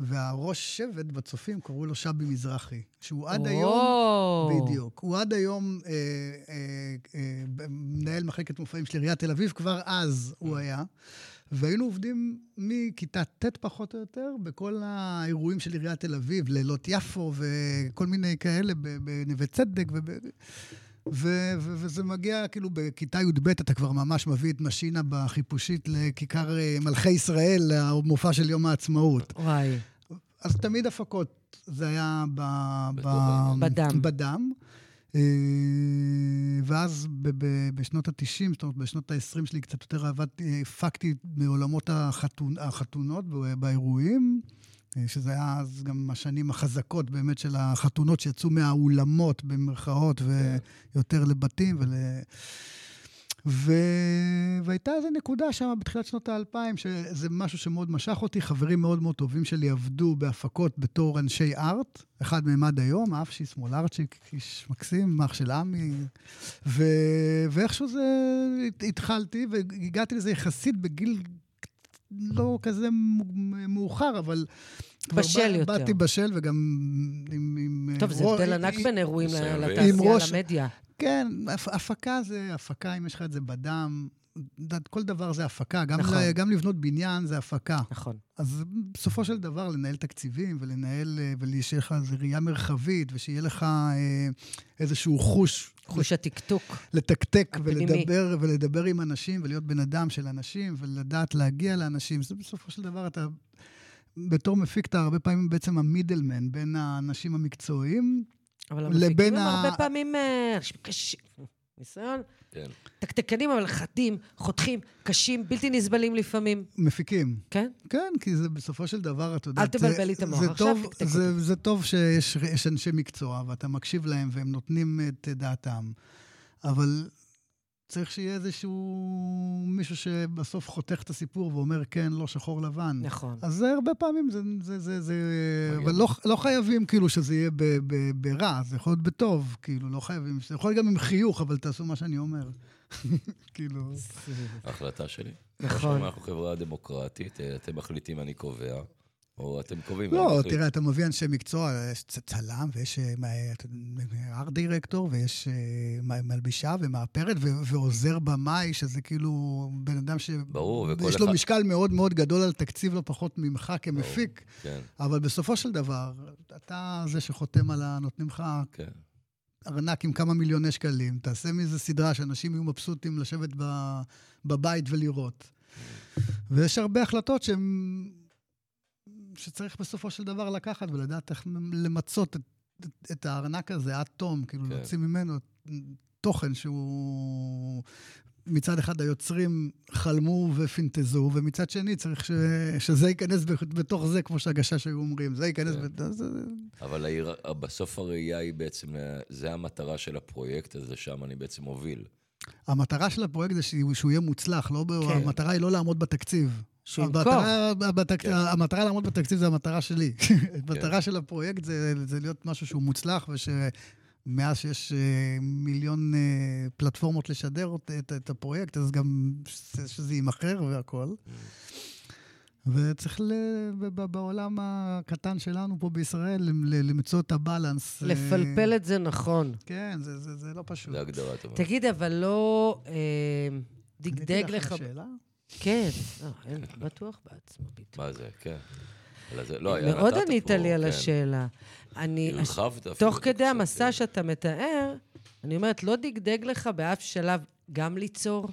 Speaker 5: והראש שבט בצופים קראו לו שבי מזרחי, שהוא עד היום...
Speaker 2: היום,
Speaker 5: בדיוק. הוא עד היום אה, אה, אה, ב- מנהל מחלקת מופעים של עיריית תל אביב, כבר אז הוא היה. והיינו עובדים מכיתה ט' פחות או יותר, בכל האירועים של עיריית תל אביב, לילות יפו וכל מיני כאלה, ב- בנווה צדק. וב... ו- ו- וזה מגיע, כאילו, בכיתה י"ב אתה כבר ממש מביא את משינה בחיפושית לכיכר אה, מלכי ישראל, למופע של יום העצמאות.
Speaker 2: וואי,
Speaker 5: אז תמיד הפקות, זה היה ב, ב,
Speaker 2: בדם.
Speaker 5: בדם. אה, ואז ב, ב, בשנות ה-90, זאת אומרת, בשנות ה-20 שלי קצת יותר עבדתי, הפקתי מעולמות החתונ, החתונות ב- באירועים, אה, שזה היה אז גם השנים החזקות באמת של החתונות שיצאו מהאולמות, במרכאות, ויותר לבתים ול... ו... והייתה איזו נקודה שם בתחילת שנות האלפיים, שזה משהו שמאוד משך אותי. חברים מאוד מאוד טובים שלי עבדו בהפקות בתור אנשי ארט, אחד מהם עד היום, אפשי שמאלרצ'יק, איש מקסים, אח של עמי. ו... ואיכשהו זה הת- התחלתי, והגעתי לזה יחסית בגיל לא כזה מ- מאוחר, אבל... כבר
Speaker 2: בשל
Speaker 5: בא-
Speaker 2: יותר.
Speaker 5: באתי בשל וגם עם... עם אה,
Speaker 2: טוב, זה
Speaker 5: רוא-
Speaker 2: הבדל ענק
Speaker 5: עם-
Speaker 2: בין אירועים ל-
Speaker 3: ניסיון ו-
Speaker 5: עם
Speaker 2: לתעשייה,
Speaker 5: ראש-
Speaker 2: למדיה.
Speaker 5: כן, הפ- הפקה זה הפקה, אם יש לך את זה בדם, ד- כל דבר זה הפקה. גם,
Speaker 2: נכון.
Speaker 5: נכון. ל, גם לבנות בניין זה הפקה.
Speaker 2: נכון.
Speaker 5: אז בסופו של דבר, לנהל תקציבים ולנהל, אה, ושיהיה לך איזו ראייה מרחבית, ושיהיה לך אה, איזשהו חוש,
Speaker 2: חוש התקתוק.
Speaker 5: לתקתק
Speaker 2: הפנימי.
Speaker 5: ולדבר, ולדבר עם אנשים, ולהיות בן אדם של אנשים, ולדעת להגיע לאנשים. זה בסופו של דבר, אתה בתור מפיק, אתה הרבה פעמים בעצם המידלמן בין האנשים המקצועיים.
Speaker 2: אבל
Speaker 5: לבין
Speaker 2: המפיקים הם
Speaker 5: ה-
Speaker 2: הרבה פעמים אה, אנשים קשים. ניסיון.
Speaker 3: כן.
Speaker 2: תקתקנים, אבל חדים, חותכים, קשים, בלתי נסבלים לפעמים,
Speaker 5: מפיקים.
Speaker 2: כן?
Speaker 5: כן, כי זה בסופו של דבר, אתה יודע...
Speaker 2: אל תבלבל לי את המוח.
Speaker 5: זה
Speaker 2: עכשיו
Speaker 5: טוב,
Speaker 2: תקתק
Speaker 5: זה, זה טוב שיש יש אנשי מקצוע, ואתה מקשיב להם, והם נותנים את דעתם. אבל צריך שיהיה איזשהו מישהו שבסוף חותך את הסיפור ואומר, כן, לא, שחור לבן.
Speaker 2: נכון.
Speaker 5: אז זה הרבה פעמים, זה... זה, זה, זה
Speaker 3: מגניב.
Speaker 5: אבל לא, לא חייבים כאילו שזה יהיה ב, ב, ברע, זה יכול להיות בטוב, כאילו, לא חייבים, זה יכול להיות גם עם חיוך, אבל תעשו מה שאני אומר. כאילו...
Speaker 3: החלטה שלי.
Speaker 2: נכון.
Speaker 3: עכשיו אנחנו חברה דמוקרטית, אה, אתם מחליטים, אני קובע, או אתם קובעים, אני
Speaker 5: לא,
Speaker 3: מחליט.
Speaker 5: תראה, אתה מביא אנשי מקצוע, יש צ- צלם ויש אה, ארט דירקטור ויש אה, מ- מלבישה ומאפרת ו- ועוזר במאי, שזה כאילו בן אדם ש...
Speaker 3: ברור, וכל
Speaker 5: יש לו
Speaker 3: אחד-
Speaker 5: משקל מאוד מאוד גדול על תקציב לא פחות ממך כמפיק,
Speaker 3: כן,
Speaker 5: אבל בסופו של דבר, אתה זה שחותם על ה... נותנים לך
Speaker 3: כן.
Speaker 5: ארנק עם כמה מיליוני שקלים, תעשה מזה סדרה שאנשים יהיו מבסוטים לשבת ב, בבית ולראות. ויש הרבה החלטות שהן... שצריך בסופו של דבר לקחת ולדעת איך למצות את, את, את הארנק הזה עד תום, כאילו
Speaker 3: כן.
Speaker 5: כן. להוציא ממנו תוכן שהוא... מצד אחד היוצרים חלמו ופינטזו, ומצד שני צריך ש... שזה ייכנס בתוך זה, כמו שהגשש היו אומרים, זה ייכנס...
Speaker 3: כן.
Speaker 5: בת- זה-
Speaker 3: אבל העיר- בסוף הראייה היא בעצם, אה, זה המטרה של הפרויקט הזה, שם אני בעצם מוביל.
Speaker 5: המטרה של הפרויקט זה שהוא שהוא יהיה מוצלח, לא, כן. המטרה היא לא לעמוד בתקציב.
Speaker 2: שהוא ימכור.
Speaker 5: המטרה, בתק...
Speaker 3: כן.
Speaker 5: כן. המטרה לעמוד בתקציב זה המטרה שלי. המטרה של הפרויקט זה, זה להיות משהו שהוא מוצלח, ושמאז שיש אה, מיליון אה, פלטפורמות לשדר אות- את, את הפרויקט, אז גם ש- שזה יימכר והכול. וצריך ל... ב- ב- בעולם הקטן שלנו פה בישראל ל- ל- למצוא את הבלנס. אה,
Speaker 2: לפלפל את זה נכון.
Speaker 5: כן, זה, זה, זה לא פשוט.
Speaker 3: זה הגדרה טובה.
Speaker 2: תגיד, אבל לא אה,
Speaker 5: עניתי
Speaker 2: דגדג
Speaker 5: על
Speaker 2: לך...
Speaker 5: השאלה?
Speaker 2: כן, לא, אין, בטוח בעצמו פתאום.
Speaker 3: מה זה, כן. אלא זה- לא, היה
Speaker 2: מאוד
Speaker 3: נתת
Speaker 2: ענית
Speaker 3: פה,
Speaker 2: לי על
Speaker 3: כן. כאילו,
Speaker 2: השאלה. אני,
Speaker 3: הרחבת אפילו.
Speaker 2: תוך כדי
Speaker 3: קצת,
Speaker 2: המסע
Speaker 3: כן.
Speaker 2: שאתה מתאר, אני אומרת, לא דגדג לך באף שלב גם ליצור?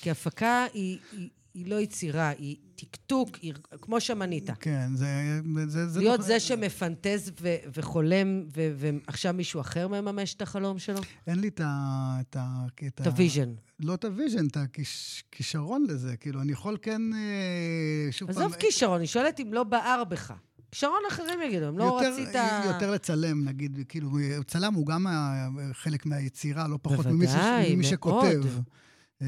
Speaker 2: כי הפקה היא, היא, היא לא יצירה, היא טקטוק, היא, כמו שמנית.
Speaker 5: כן, זה... זה- זה
Speaker 2: להיות
Speaker 5: נכון.
Speaker 2: זה שמפנטז ו- וחולם, ו- ועכשיו מישהו אחר מממש את החלום שלו?
Speaker 5: אין לי את ה... את ה...
Speaker 2: את הוויז'ן.
Speaker 5: לא את הוויז'ן, את הכישרון לזה. כאילו, אני יכול כן... אה, שוב
Speaker 2: עזוב
Speaker 5: פעם,
Speaker 2: כישרון, אני שואלת אם לא בער בך. כישרון אחרים יגידו, אם לא
Speaker 5: יותר-
Speaker 2: רצית...
Speaker 5: יותר לצלם, נגיד, כאילו, צלם הוא גם ה- חלק מהיצירה, לא פחות ממי, ש...
Speaker 2: בוודאי,
Speaker 5: ממי
Speaker 2: מאוד.
Speaker 5: שכותב. אה,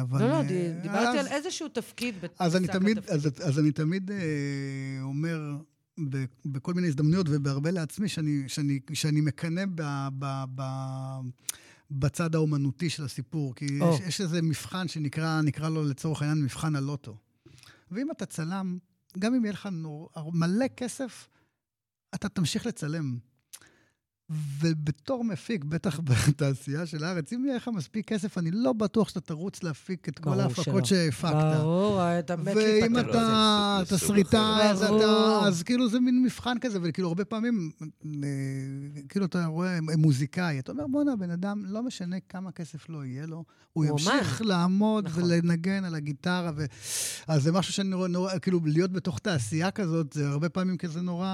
Speaker 5: אבל...
Speaker 2: לא, לא,
Speaker 5: אה,
Speaker 2: ד- דיברתי על
Speaker 5: אז-
Speaker 2: איזשהו תפקיד בתפיסה.
Speaker 5: אז אני תמיד,
Speaker 2: כתפקיד.
Speaker 5: אז, אז אני תמיד אה, אומר ב, בכל מיני הזדמנויות ובהרבה לעצמי, שאני, שאני, שאני מקנא ב, ב, ב, בצד האומנותי של הסיפור, כי
Speaker 2: או.
Speaker 5: יש, יש איזה מבחן שנקרא, נקרא לו לצורך העניין מבחן הלוטו. ואם אתה צלם, גם אם יהיה לך נור, מלא כסף, אתה תמשיך לצלם. ובתור מפיק, בטח בתעשייה של הארץ, אם יהיה לך מספיק כסף, אני לא בטוח שאתה תרוץ להפיק את כל
Speaker 2: ברור
Speaker 5: ההפקות
Speaker 2: שלא.
Speaker 5: שהפקת.
Speaker 2: ברור, אה, אתה מת
Speaker 5: ואם
Speaker 2: להיפטר. מזה.
Speaker 5: אתה
Speaker 3: לא, זה סוג- זה סוג
Speaker 5: תסריטאי,
Speaker 3: אחר.
Speaker 5: אז
Speaker 2: ברור.
Speaker 5: אתה... אז כאילו זה מין מבחן כזה, וכאילו הרבה פעמים, אה, כאילו אתה רואה מוזיקאי, אתה אומר, בואנה, בן אדם, לא משנה כמה כסף לא יהיה לו, הוא
Speaker 2: הוא
Speaker 5: ימשיך
Speaker 2: אומן."
Speaker 5: לעמוד
Speaker 2: נכון.
Speaker 5: ולנגן על הגיטרה, ו... אז זה משהו שאני נורא, נורא, כאילו, להיות בתוך תעשייה כזאת, זה הרבה פעמים כזה נורא...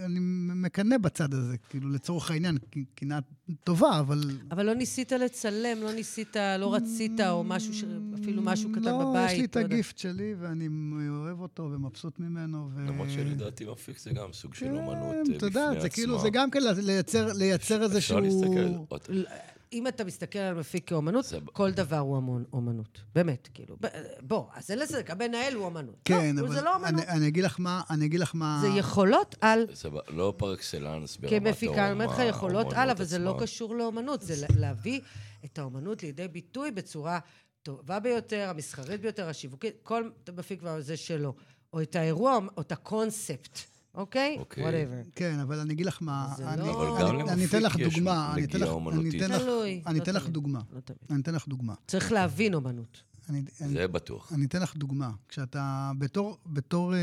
Speaker 5: אני מקנא בצד הזה, כאילו, לצורך העניין, קנאה טובה, אבל...
Speaker 2: אבל לא ניסית לצלם, לא ניסית, לא רצית, או משהו, ש- אפילו משהו קטן בבית.
Speaker 5: לא, יש לי את
Speaker 2: יודעת.
Speaker 5: הגיפט שלי, ואני אוהב אותו ומבסוט ממנו. ו...
Speaker 3: למרות שלדעתי מפיק זה גם סוג של
Speaker 5: כן,
Speaker 3: אומנות אה, בפני עצמה.
Speaker 5: אתה יודע, זה כאילו, זה גם כן לייצר, לייצר איזשהו...
Speaker 3: אפשר להסתכל, עוד-
Speaker 2: ל- אם אתה מסתכל על מפיק כאומנות,
Speaker 3: סבבה.
Speaker 2: כל דבר הוא המון אומנות. באמת, כאילו. ב- בוא, אז אין לזה, גם מנהל הוא אומנות.
Speaker 5: כן,
Speaker 2: לא,
Speaker 5: אבל...
Speaker 2: זה לא אומנות.
Speaker 5: אני, אני אגיד לך מה, אני אגיד לך מה...
Speaker 2: זה יכולות על...
Speaker 3: סבבה, לא פר אקסלנס ברמת
Speaker 2: כמפיקה, אני אומרת לך,
Speaker 3: האומה,
Speaker 2: יכולות על,
Speaker 3: האומנות
Speaker 2: אבל זה לא
Speaker 3: עצמה.
Speaker 2: קשור לאומנות. זה לה- להביא את האומנות לידי ביטוי בצורה טובה ביותר, המסחרית ביותר, השיווקית, כל מפיק זה שלו. או את האירוע, או את הקונספט, אוקיי?
Speaker 3: אוקיי.
Speaker 2: וואטאבר.
Speaker 5: כן, אבל אני אגיד לך מה...
Speaker 2: זה
Speaker 5: אני,
Speaker 2: לא-
Speaker 5: אני,
Speaker 2: אבל גם
Speaker 5: אני, אני אתן לך
Speaker 3: למפיק יש
Speaker 5: דוגמה. אני אתן
Speaker 3: נגיעה
Speaker 5: לך- אני
Speaker 3: אומנותית.
Speaker 5: אתן לך-
Speaker 2: תלוי,
Speaker 5: אני
Speaker 2: לא
Speaker 5: אתן לך
Speaker 2: תמיד.
Speaker 5: דוגמה.
Speaker 2: לא תמיד.
Speaker 5: אני אתן לך דוגמה.
Speaker 2: צריך להבין אומנות.
Speaker 5: אני, אני,
Speaker 3: זה בטוח.
Speaker 5: אני אתן לך דוגמה. כשאתה בתור, בתור, אה,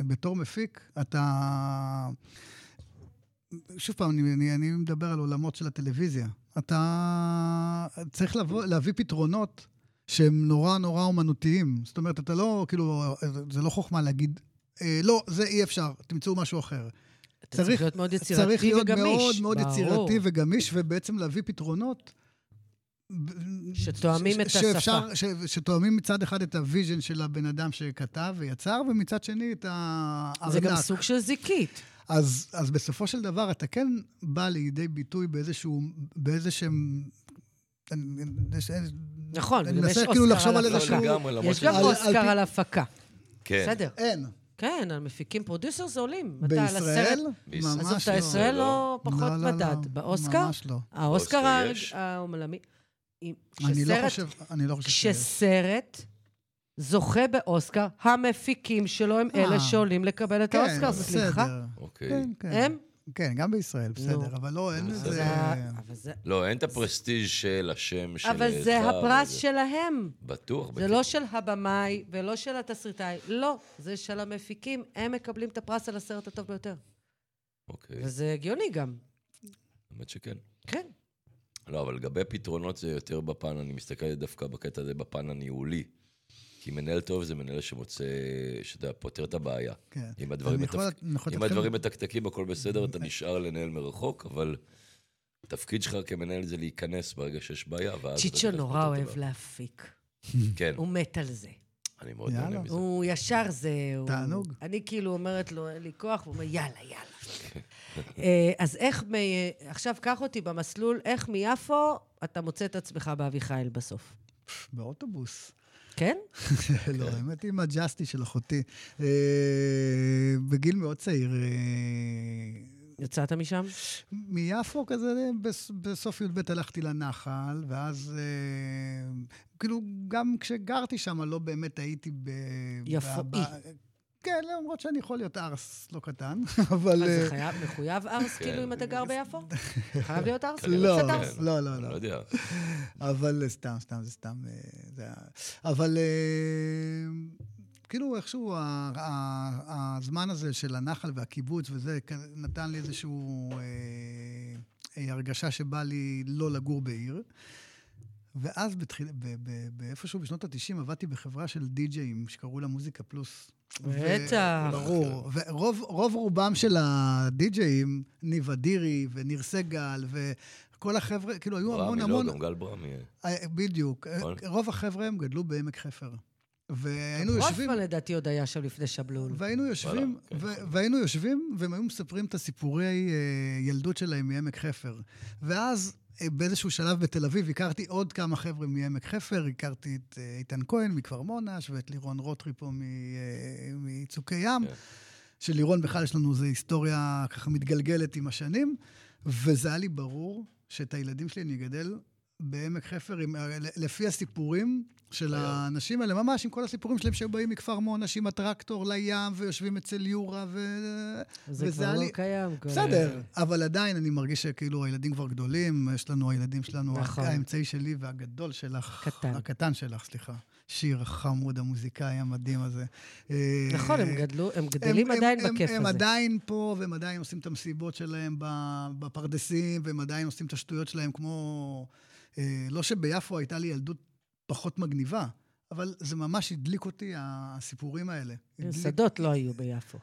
Speaker 5: בתור מפיק, אתה... שוב פעם, אני, אני, אני מדבר על עולמות של הטלוויזיה. אתה צריך לבוא, להביא פתרונות שהם נורא נורא אומנותיים. זאת אומרת, אתה לא, כאילו, זה לא חוכמה להגיד, אה, לא, זה אי אפשר, תמצאו משהו אחר.
Speaker 2: אתה צריך להיות מאוד יצירתי וגמיש.
Speaker 5: צריך להיות מאוד מאוד
Speaker 2: ברור.
Speaker 5: יצירתי וגמיש, ובעצם להביא פתרונות. ב-
Speaker 2: שתואמים את
Speaker 5: שאפשר- ש, שתואמים מצד אחד את הוויז'ן של הבן אדם שכתב ויצר, ומצד שני את הארנק.
Speaker 2: זה גם סוג של זיקית.
Speaker 5: אז, אז בסופו של דבר אתה כן בא לידי ביטוי באיזשהו, באיזשהם... אני- אני-
Speaker 2: נכון, וגם
Speaker 5: אני
Speaker 2: יש
Speaker 5: מנסה
Speaker 2: אוסקר
Speaker 5: כאילו לחשוב
Speaker 2: על
Speaker 5: על
Speaker 2: הפקה.
Speaker 5: איזשהו...
Speaker 3: לא לגמרי, למרות
Speaker 2: יש גם
Speaker 5: על- על פי-
Speaker 2: אוסקר על הפקה.
Speaker 3: כן.
Speaker 2: בסדר.
Speaker 5: אין.
Speaker 2: כן, על מפיקים פרודיוסרס עולים. אתה על הסרט-
Speaker 5: בישראל?
Speaker 3: בישראל.
Speaker 2: עזוב,
Speaker 5: ממש
Speaker 2: אתה
Speaker 5: לא.
Speaker 2: ישראל
Speaker 3: לא,
Speaker 2: לא פחות
Speaker 5: לא, לא,
Speaker 2: מדד.
Speaker 5: לא.
Speaker 2: באוסקר?
Speaker 5: ממש לא.
Speaker 2: האוסקר
Speaker 3: באוסקר
Speaker 2: הר-
Speaker 3: יש.
Speaker 2: העולמי. אם-
Speaker 5: אני לא
Speaker 2: כשסרט-
Speaker 5: חושב, אני לא חושב שיש.
Speaker 2: כשסרט זוכה באוסקר, המפיקים שלו הם
Speaker 5: אה.
Speaker 2: אלה שעולים לקבל את
Speaker 5: כן,
Speaker 2: האוסקר.
Speaker 5: בסדר.
Speaker 2: סליחה?
Speaker 3: אוקיי.
Speaker 5: כן, כן.
Speaker 2: הם?
Speaker 5: כן, גם בישראל, בסדר,
Speaker 2: נו. אה,
Speaker 5: אבל לא, אין איזה...
Speaker 2: זה- אבל זה-
Speaker 3: לא, אין את הפרסטיג' של השם של...
Speaker 2: אבל זה
Speaker 3: אחד,
Speaker 2: הפרס
Speaker 3: וזה-
Speaker 2: שלהם.
Speaker 3: בטוח.
Speaker 2: זה
Speaker 3: בטח.
Speaker 2: לא של הבמאי ולא של התסריטאי, לא, זה של המפיקים, הם מקבלים את הפרס על הסרט הטוב ביותר.
Speaker 3: אוקיי,
Speaker 2: וזה הגיוני גם,
Speaker 3: האמת שכן.
Speaker 2: כן.
Speaker 3: לא, אבל לגבי פתרונות זה יותר בפן, אני מסתכל דווקא בקטע הזה בפן הניהולי. כי מנהל טוב זה מנהל שמוצא, שאתה פותר את הבעיה.
Speaker 5: כן.
Speaker 3: אם הדברים,
Speaker 5: אני יכול-
Speaker 3: מתפק...
Speaker 5: אני יכול לתת
Speaker 3: אם
Speaker 5: לכם-
Speaker 3: הדברים מתקתקים, הכל בסדר, אתה נשאר לנהל מרחוק, אבל התפקיד שלך כמנהל זה להיכנס ברגע שיש בעיה, ואז... אתה
Speaker 2: צ'יצ'ו
Speaker 3: תלך
Speaker 2: נורא
Speaker 3: לאותו
Speaker 2: אוהב
Speaker 3: דבר.
Speaker 2: להפיק,
Speaker 3: כן,
Speaker 2: הוא מת על זה.
Speaker 3: אני מאוד
Speaker 5: יאללה.
Speaker 3: נהנה מזה.
Speaker 2: הוא ישר זה... הוא-
Speaker 5: תענוג.
Speaker 2: אני כאילו אומרת לו, אין לי כוח, הוא אומר, יאללה, יאללה. אה, אז איך, מ... עכשיו קח אותי במסלול, איך מיפו אתה מוצא את עצמך באביחיל בסוף,
Speaker 5: באוטובוס.
Speaker 2: כן?
Speaker 5: לא, האמת היא מהג'אסטי של אחותי. אה, בגיל מאוד צעיר, אה,
Speaker 2: יצאת משם?
Speaker 5: מיפו כזה, בס- בסוף י"ב הלכתי לנחל, ואז אה, כאילו, גם כשגרתי שם, לא באמת הייתי ב...
Speaker 2: יפואי.
Speaker 5: ב- ב- כן, למרות שאני יכול להיות ארס לא קטן, אבל...
Speaker 2: אז
Speaker 5: אה,
Speaker 2: זה חייב, מחויב ארס,
Speaker 3: כן.
Speaker 2: כאילו, אם אתה גר ביפו? חייב להיות ארס?
Speaker 3: חייב
Speaker 5: לא,
Speaker 3: קצת ארס.
Speaker 5: לא, לא,
Speaker 3: לא
Speaker 5: לא.
Speaker 3: יודע.
Speaker 5: אבל אה, סתם, סתם, זה סתם... אה, זה היה- אבל אה, כאילו איכשהו ה- ה- הזמן הזה של הנחל והקיבוץ וזה, כ- נתן לי איזושהי הרגשה שבא לי לא לגור בעיר. ואז בתחיל, ב, ב, באיפשהו בשנות ה-90 עבדתי בחברה של די-ג'אים שקראו לה מוזיקה פלוס. ו-
Speaker 2: בטח.
Speaker 5: ברור. ורוב רוב רובם של הדי-ג'אים, ניב אדירי וניר סגל וכל החבר'ה, כאילו היו המון
Speaker 3: ברמי, לא,
Speaker 5: המון...
Speaker 3: גם גל ברמי.
Speaker 5: אה, בדיוק.
Speaker 3: נכון?
Speaker 5: רוב החבר'ה הם גדלו בעמק חפר. והיינו יושבים...
Speaker 2: רוטמן לדעתי עוד היה שם לפני שבלול.
Speaker 5: והיינו יושבים,
Speaker 3: וואלה, כן.
Speaker 5: ו- והיינו יושבים, והם היו מספרים את הסיפורי אה, ילדות שלהם מעמק חפר. ואז אה, באיזשהו שלב בתל אביב הכרתי עוד כמה חבר'ה מעמק חפר, הכרתי את אה, איתן כהן מכפר מונש, ואת לירון רוטרי פה מ- אה, מצוקי ים.
Speaker 3: כן.
Speaker 5: שלירון בכלל יש לנו איזו היסטוריה ככה מתגלגלת עם השנים, וזה היה לי ברור שאת הילדים שלי אני אגדל בעמק חפר, עם, לפי הסיפורים של
Speaker 3: היה.
Speaker 5: האנשים האלה, ממש עם כל הסיפורים שלהם שהיו באים מכפר מונש עם הטרקטור לים ויושבים אצל יורה ו...
Speaker 2: זה
Speaker 5: וזה
Speaker 2: כבר
Speaker 5: היה
Speaker 2: לא
Speaker 5: לי-
Speaker 2: קיים. כבר.
Speaker 5: בסדר, אבל עדיין אני מרגיש שכאילו הילדים כבר גדולים, יש לנו, הילדים שלנו,
Speaker 2: נכון.
Speaker 5: האמצעי שלי והגדול שלך.
Speaker 2: קטן.
Speaker 5: הקטן שלך, סליחה. שיר החמוד, המוזיקאי המדהים הזה.
Speaker 2: נכון, הם
Speaker 5: אה,
Speaker 2: גדלו, הם גדלים עדיין
Speaker 5: הם,
Speaker 2: בכיף
Speaker 5: הם, הם
Speaker 2: הזה.
Speaker 5: עדיין פה, והם עדיין עושים את המסיבות שלהם ב- בפרדסים, והם עדיין עושים את השטויות שלהם כמו... אה, לא שביפו הייתה לי ילדות פחות מגניבה, אבל זה ממש הדליק אותי, הסיפורים האלה. הדליק-
Speaker 2: שדות לא היו ביפו.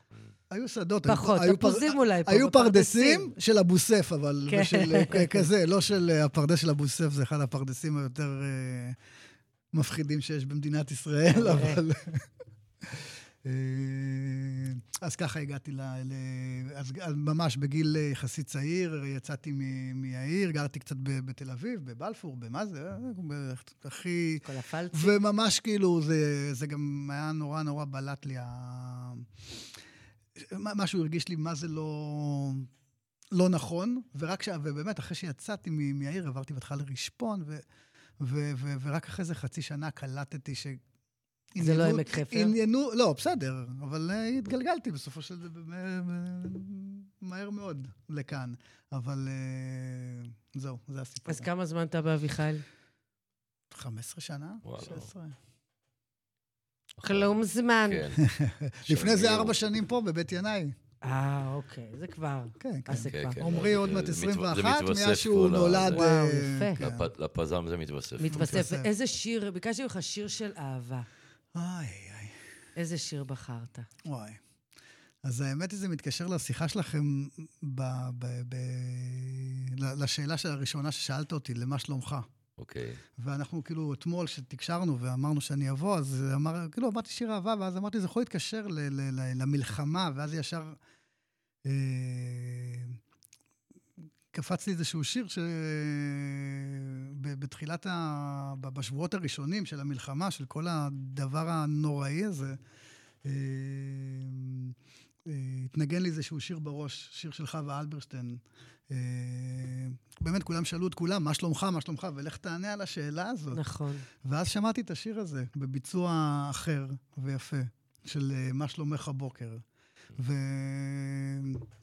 Speaker 5: היו שדות. היו-
Speaker 2: פחות,
Speaker 5: היו פר-
Speaker 2: תפוזים אולי פה.
Speaker 5: היו
Speaker 2: בפרדסים.
Speaker 5: פרדסים של אבו סף, אבל
Speaker 2: כן.
Speaker 5: של אה, כזה, לא של אה, הפרדס של אבו סף, זה אחד הפרדסים היותר אה, מפחידים שיש במדינת ישראל,
Speaker 2: כנראה.
Speaker 5: אבל... אה, אז ככה הגעתי ל... ל- אז אז ממש בגיל אה, יחסית צעיר, יצאתי מ- מהעיר, גרתי קצת ב- בתל אביב, בבלפור, במה זה? אה, ב- הכי...
Speaker 2: כל הפלצים.
Speaker 5: וממש כאילו, זה, זה גם היה נורא נורא בלט לי. ה... מה- משהו הרגיש לי מה זה לא, לא נכון, ורק ש... ובאמת, אחרי שיצאתי מ- מהעיר, עברתי בהתחלה לרשפון, ו... ו... ו... ורק אחרי זה חצי שנה קלטתי ש...
Speaker 2: זה לא
Speaker 5: עניינו-
Speaker 2: עמק חפר?
Speaker 5: עניינו, לא, בסדר, אבל אה, התגלגלתי בסופו של דבר, אה, אה, מהר מאוד לכאן. אבל אה, זהו, זה הסיפור.
Speaker 2: אז כמה זמן אתה באביחיל?
Speaker 5: 15 שנה?
Speaker 3: וואלה.
Speaker 5: 16?
Speaker 2: כלום זמן.
Speaker 3: כן.
Speaker 5: לפני זה
Speaker 3: שמיר.
Speaker 5: ארבע שנים פה, בבית ינאי.
Speaker 2: אה, אוקיי, זה כבר.
Speaker 5: כן,
Speaker 2: אז זה
Speaker 5: כן.
Speaker 3: כן,
Speaker 2: כבר.
Speaker 3: כן.
Speaker 5: עמרי עוד
Speaker 3: זה
Speaker 5: מעט
Speaker 3: מתו- זה
Speaker 5: 21,
Speaker 3: מתווסף
Speaker 5: מאז שהוא
Speaker 3: פה ל-
Speaker 5: נולד...
Speaker 3: זה.
Speaker 2: וואו,
Speaker 5: אה,
Speaker 2: יפה.
Speaker 5: כן.
Speaker 3: לפ- לפזם זה מתווסף.
Speaker 2: מתווסף.
Speaker 5: מתווסף.
Speaker 2: איזה שיר, ביקשתי ממך שיר של אהבה.
Speaker 5: איי, איי,
Speaker 2: איזה שיר בחרת?
Speaker 5: וואי. אז האמת היא, זה מתקשר לשיחה שלכם, ב, ב, ב, ל- לשאלה של הראשונה ששאלת אותי, למה שלומך?
Speaker 3: אוקיי.
Speaker 5: ואנחנו כאילו, אתמול שתקשרנו ואמרנו שאני אבוא, אז אמר, כאילו, אמרתי שיר אהבה, ואז אמרתי, זה יכול להתקשר ל, ל, ל, למלחמה, ואז ישר אה, קפץ לי אה, איזשהו שיר ש... ב- בתחילת ה... ב- בשבועות הראשונים של המלחמה, של כל הדבר הנוראי הזה, אה, אה, התנגן לי איזשהו שיר בראש, שיר של חווה אלברשטיין. אה, באמת, כולם שאלו את כולם, מה שלומך, מה שלומך, ולך תענה על השאלה הזאת.
Speaker 2: נכון.
Speaker 5: ואז שמעתי את השיר הזה בביצוע אחר ויפה, של אה, מה שלומך הבוקר. ו...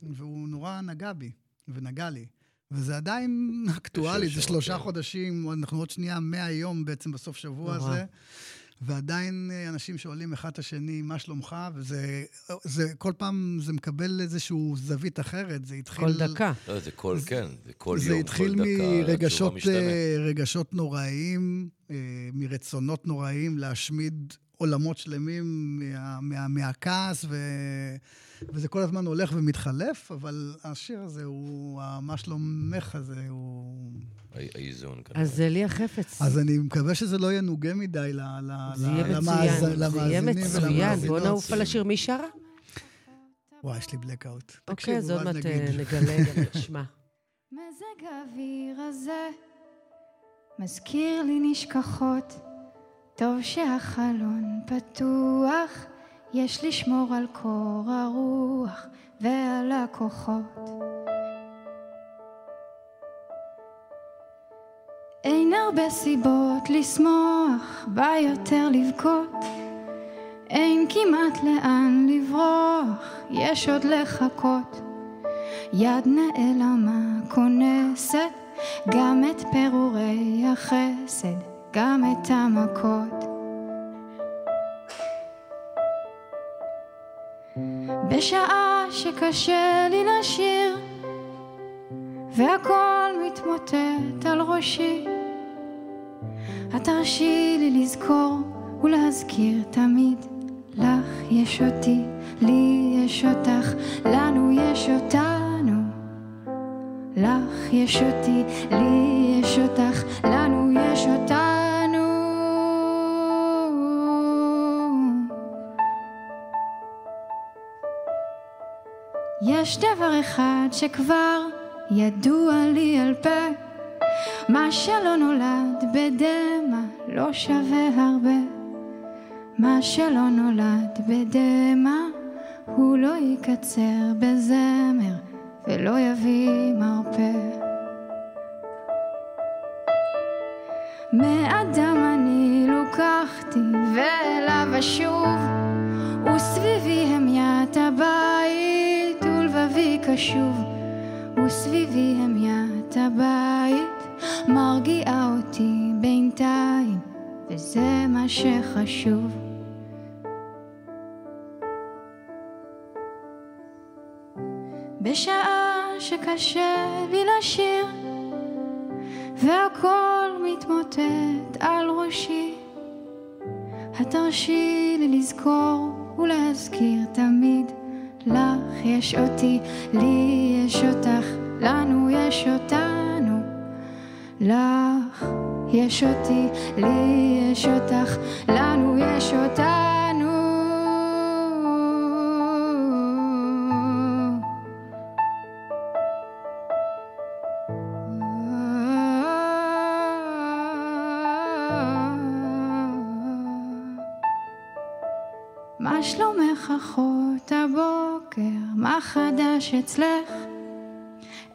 Speaker 5: והוא נורא נגע בי, ונגע לי. וזה עדיין אקטואלי, זה
Speaker 3: שבוע,
Speaker 5: שלושה
Speaker 3: כן.
Speaker 5: חודשים, אנחנו עוד שנייה, מאה יום בעצם בסוף שבוע
Speaker 2: נורא.
Speaker 5: הזה. ועדיין אה, אנשים שואלים אחד את השני, מה שלומך? וזה, אה, זה, כל פעם זה מקבל איזושהי זווית אחרת. זה התחיל...
Speaker 2: כל דקה.
Speaker 3: לא, זה כל, כן, זה כל
Speaker 5: זה
Speaker 3: יום, כל דקה.
Speaker 5: התחיל מרגשות
Speaker 3: התשובה משתנה.
Speaker 5: אה, רגשות נוראיים, אה, מרצונות נוראיים להשמיד עולמות שלמים מה, מה, מהכעס, ו, וזה כל הזמן הולך ומתחלף, אבל השיר הזה הוא, ה- מה שלומך הזה, הוא...
Speaker 3: הא- האיזון כן, כנראה.
Speaker 2: אז אליה חפץ.
Speaker 5: אז אני מקווה שזה לא יהיה נוגה מדי ל, ל,
Speaker 2: זה
Speaker 5: ל-
Speaker 2: יהיה
Speaker 5: למאז-
Speaker 2: מצוין. זה לא יהיה
Speaker 5: למאזינים
Speaker 2: מצוין. בוא
Speaker 5: ולמאזינות.
Speaker 2: נעוף על השיר. מי שרה?
Speaker 5: וואי, יש לי בלקאוט.
Speaker 2: אוקיי, אז עוד מעט אה,
Speaker 5: נגיד.
Speaker 2: נגלה, גם נשמע.
Speaker 6: מזג האוויר הזה מזכיר לי נשכחות. טוב שהחלון פתוח, יש לשמור על קור הרוח ועל הכוחות. אין הרבה סיבות לשמוח, בא יותר לבכות. אין כמעט לאן לברוח, יש עוד לחכות. יד נעלמה כונסת גם את פירורי החסד, גם את המכות. בשעה שקשה לי לשיר, והכל מתמוטט על ראשי. את תרשי לי לזכור ולהזכיר תמיד, לך יש אותי, לי יש אותך, לנו יש אותנו. לך יש אותי, לי יש אותך, לנו יש אותנו. יש דבר אחד שכבר ידוע לי על פה, מה שלא נולד בדמע לא שווה הרבה. מה שלא נולד בדמע הוא לא יקצר בזמר ולא יביא מרפא. מאדם אני לוקחתי ואליו אשוב וסביבי המיית הבית ולבבי קשוב וסביבי המיית הבית מרגיעה אותי בינתיים וזה מה שחשוב בשעה שקשה לי לשיר והכל מתמוטט על ראשי התרשי לי לזכור ולהזכיר תמיד לך יש אותי, לי יש אותך, לנו יש אותנו. לך יש אותי, לי יש אותך, לנו יש אותנו. מה שלומך אחות הבוקר? מה חדש אצלך?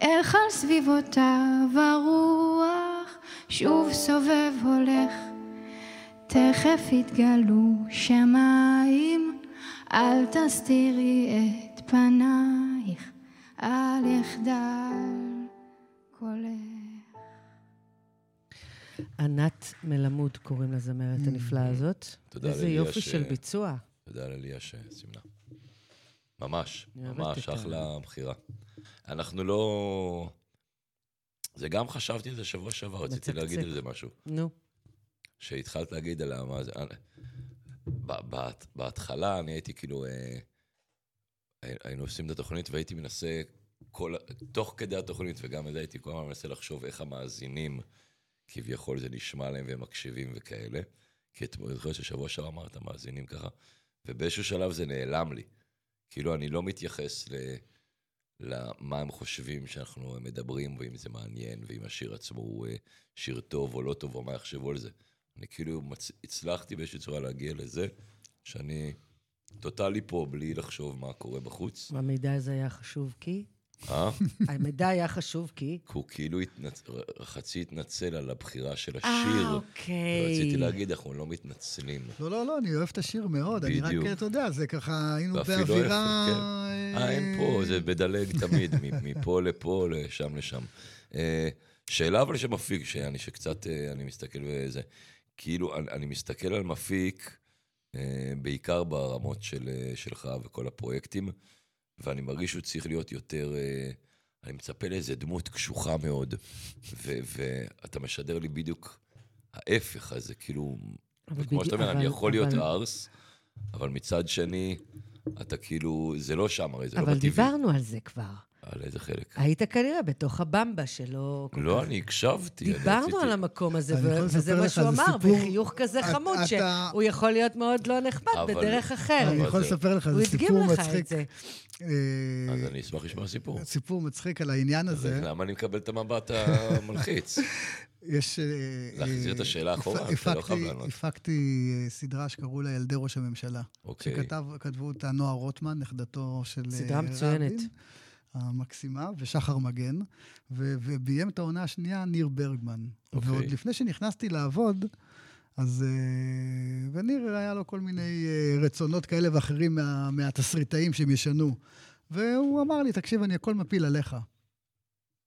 Speaker 6: איך על סביבותיו הרוח שוב סובב הולך. תכף יתגלו שמיים, אל תסתירי את פנייך, אל יחדל קולך.
Speaker 2: ענת מלמוד קוראים לזמרת
Speaker 5: Mm.
Speaker 2: הנפלאה הזאת.
Speaker 3: תודה
Speaker 2: איזה
Speaker 3: לאליה
Speaker 2: יופי
Speaker 3: ש-
Speaker 2: של ביצוע.
Speaker 3: תודה לליה שסימנה. ממש,
Speaker 2: אני אוהבת
Speaker 3: ממש,
Speaker 2: את ה-
Speaker 3: אחלה בחירה. אנחנו לא... זה גם חשבתי על זה שבוע שעבר, רציתי
Speaker 2: מצקצק.
Speaker 3: להגיד על זה משהו.
Speaker 2: נו,
Speaker 3: שהתחלת להגיד על ה- מה זה... אה, ב- בה- בהתחלה אני הייתי כאילו... אה, הי- היינו עושים את התוכנית והייתי מנסה, כל, ה- תוך כדי התוכנית, וגם את זה הייתי כל הזמן מנסה לחשוב איך המאזינים, כביכול זה נשמע להם והם מקשיבים וכאלה. כי אתמול, אני זוכר ששבוע שעבר אמרת, מאזינים ככה, ובאיזשהו שלב זה נעלם לי. כאילו, אני לא מתייחס ל... למה הם חושבים שאנחנו מדברים, ואם זה מעניין, ואם השיר עצמו הוא אה, שיר טוב או לא טוב, או מה יחשבו על זה. אני כאילו מצ... הצלחתי באיזושהי צורה להגיע לזה, שאני טוטאלי פה בלי לחשוב מה קורה בחוץ.
Speaker 2: המידע הזה היה חשוב כי...
Speaker 3: אה?
Speaker 2: המידע היה חשוב כי...
Speaker 3: הוא כאילו התנצ... חצי התנצל על הבחירה של
Speaker 2: אה,
Speaker 3: השיר.
Speaker 2: אוקיי.
Speaker 3: רציתי להגיד, אנחנו לא מתנצלים.
Speaker 5: לא, לא, לא, אני אוהב את השיר מאוד. אני רק,
Speaker 3: בדיוק.
Speaker 5: אתה יודע, זה ככה, היינו
Speaker 3: ואפילו
Speaker 5: באווירה...
Speaker 3: איך,
Speaker 5: אה,
Speaker 3: אה, אין פה, זה מדלג תמיד, מ- מפה לפה, לשם לשם. אה, שאלה אבל שמפיק, שאני שקצת, אה, אני מסתכל וזה, כאילו, אני, אני מסתכל על מפיק, אה, בעיקר ברמות של, אה, שלך וכל הפרויקטים, ואני מרגיש שהוא צריך להיות יותר... אה, אני מצפה לאיזה דמות קשוחה מאוד, ו- ואתה משדר לי בדיוק ההפך, אז זה כאילו...
Speaker 2: אבל
Speaker 3: וכמו
Speaker 2: בדיוק-
Speaker 3: שאתה אומר, אני
Speaker 2: אבל-
Speaker 3: יכול להיות
Speaker 2: אבל-
Speaker 3: ארס, אבל מצד שני, אתה כאילו, זה לא שם הרי, זה לא
Speaker 2: אבל
Speaker 3: בטבעי.
Speaker 2: דיברנו אה, על זה כבר.
Speaker 3: על איזה חלק?
Speaker 2: היית כנראה בתוך הבמבה שלא... כל
Speaker 3: לא,
Speaker 2: כך-
Speaker 3: אני הקשבתי. אני
Speaker 2: דיברנו
Speaker 3: רציתי-
Speaker 2: על המקום הזה,
Speaker 5: אני
Speaker 2: ו-
Speaker 5: יכול
Speaker 2: וזה
Speaker 5: לספר
Speaker 2: מה
Speaker 5: לך,
Speaker 2: שהוא
Speaker 5: זה
Speaker 2: אמר,
Speaker 5: סיפור-
Speaker 2: בחיוך כזה
Speaker 5: אתה-
Speaker 2: חמוד,
Speaker 5: אתה-
Speaker 2: שהוא יכול להיות מאוד לא נחמד
Speaker 3: אבל-
Speaker 2: בדרך
Speaker 5: אני
Speaker 2: אחרת.
Speaker 5: יכול
Speaker 3: זה-
Speaker 5: לספר לך,
Speaker 2: הוא
Speaker 5: זה
Speaker 2: הדגים
Speaker 5: סיפור
Speaker 2: לך את
Speaker 5: מצחיק.
Speaker 2: זה.
Speaker 5: אה,
Speaker 3: אז אני אשמח לשמוע סיפור.
Speaker 5: סיפור מצחיק על העניין
Speaker 3: אז
Speaker 5: הזה.
Speaker 3: למה אני מקבל את המבט המלחיץ?
Speaker 5: יש... אה,
Speaker 3: להחזיר את
Speaker 5: אה,
Speaker 3: השאלה
Speaker 5: הפ-
Speaker 3: אחורה, אתה לא חייב
Speaker 5: הפקתי-
Speaker 3: לענות.
Speaker 5: הפקתי אה, סדרה שקראו לה ילדי ראש הממשלה.
Speaker 3: אוקיי.
Speaker 5: שכתבו אותה נועה רוטמן, נכדתו של אה,
Speaker 2: סדרה מצוינת.
Speaker 5: רבין, המקסימה, ושחר מגן, ו- וביים את העונה השנייה ניר ברגמן.
Speaker 3: אוקיי.
Speaker 5: ועוד לפני שנכנסתי לעבוד, אז... אה, וניר, היה לו כל מיני אה, רצונות כאלה ואחרים מה, מהתסריטאים שהם ישנו. והוא אמר לי, תקשיב, אני הכל מפיל עליך.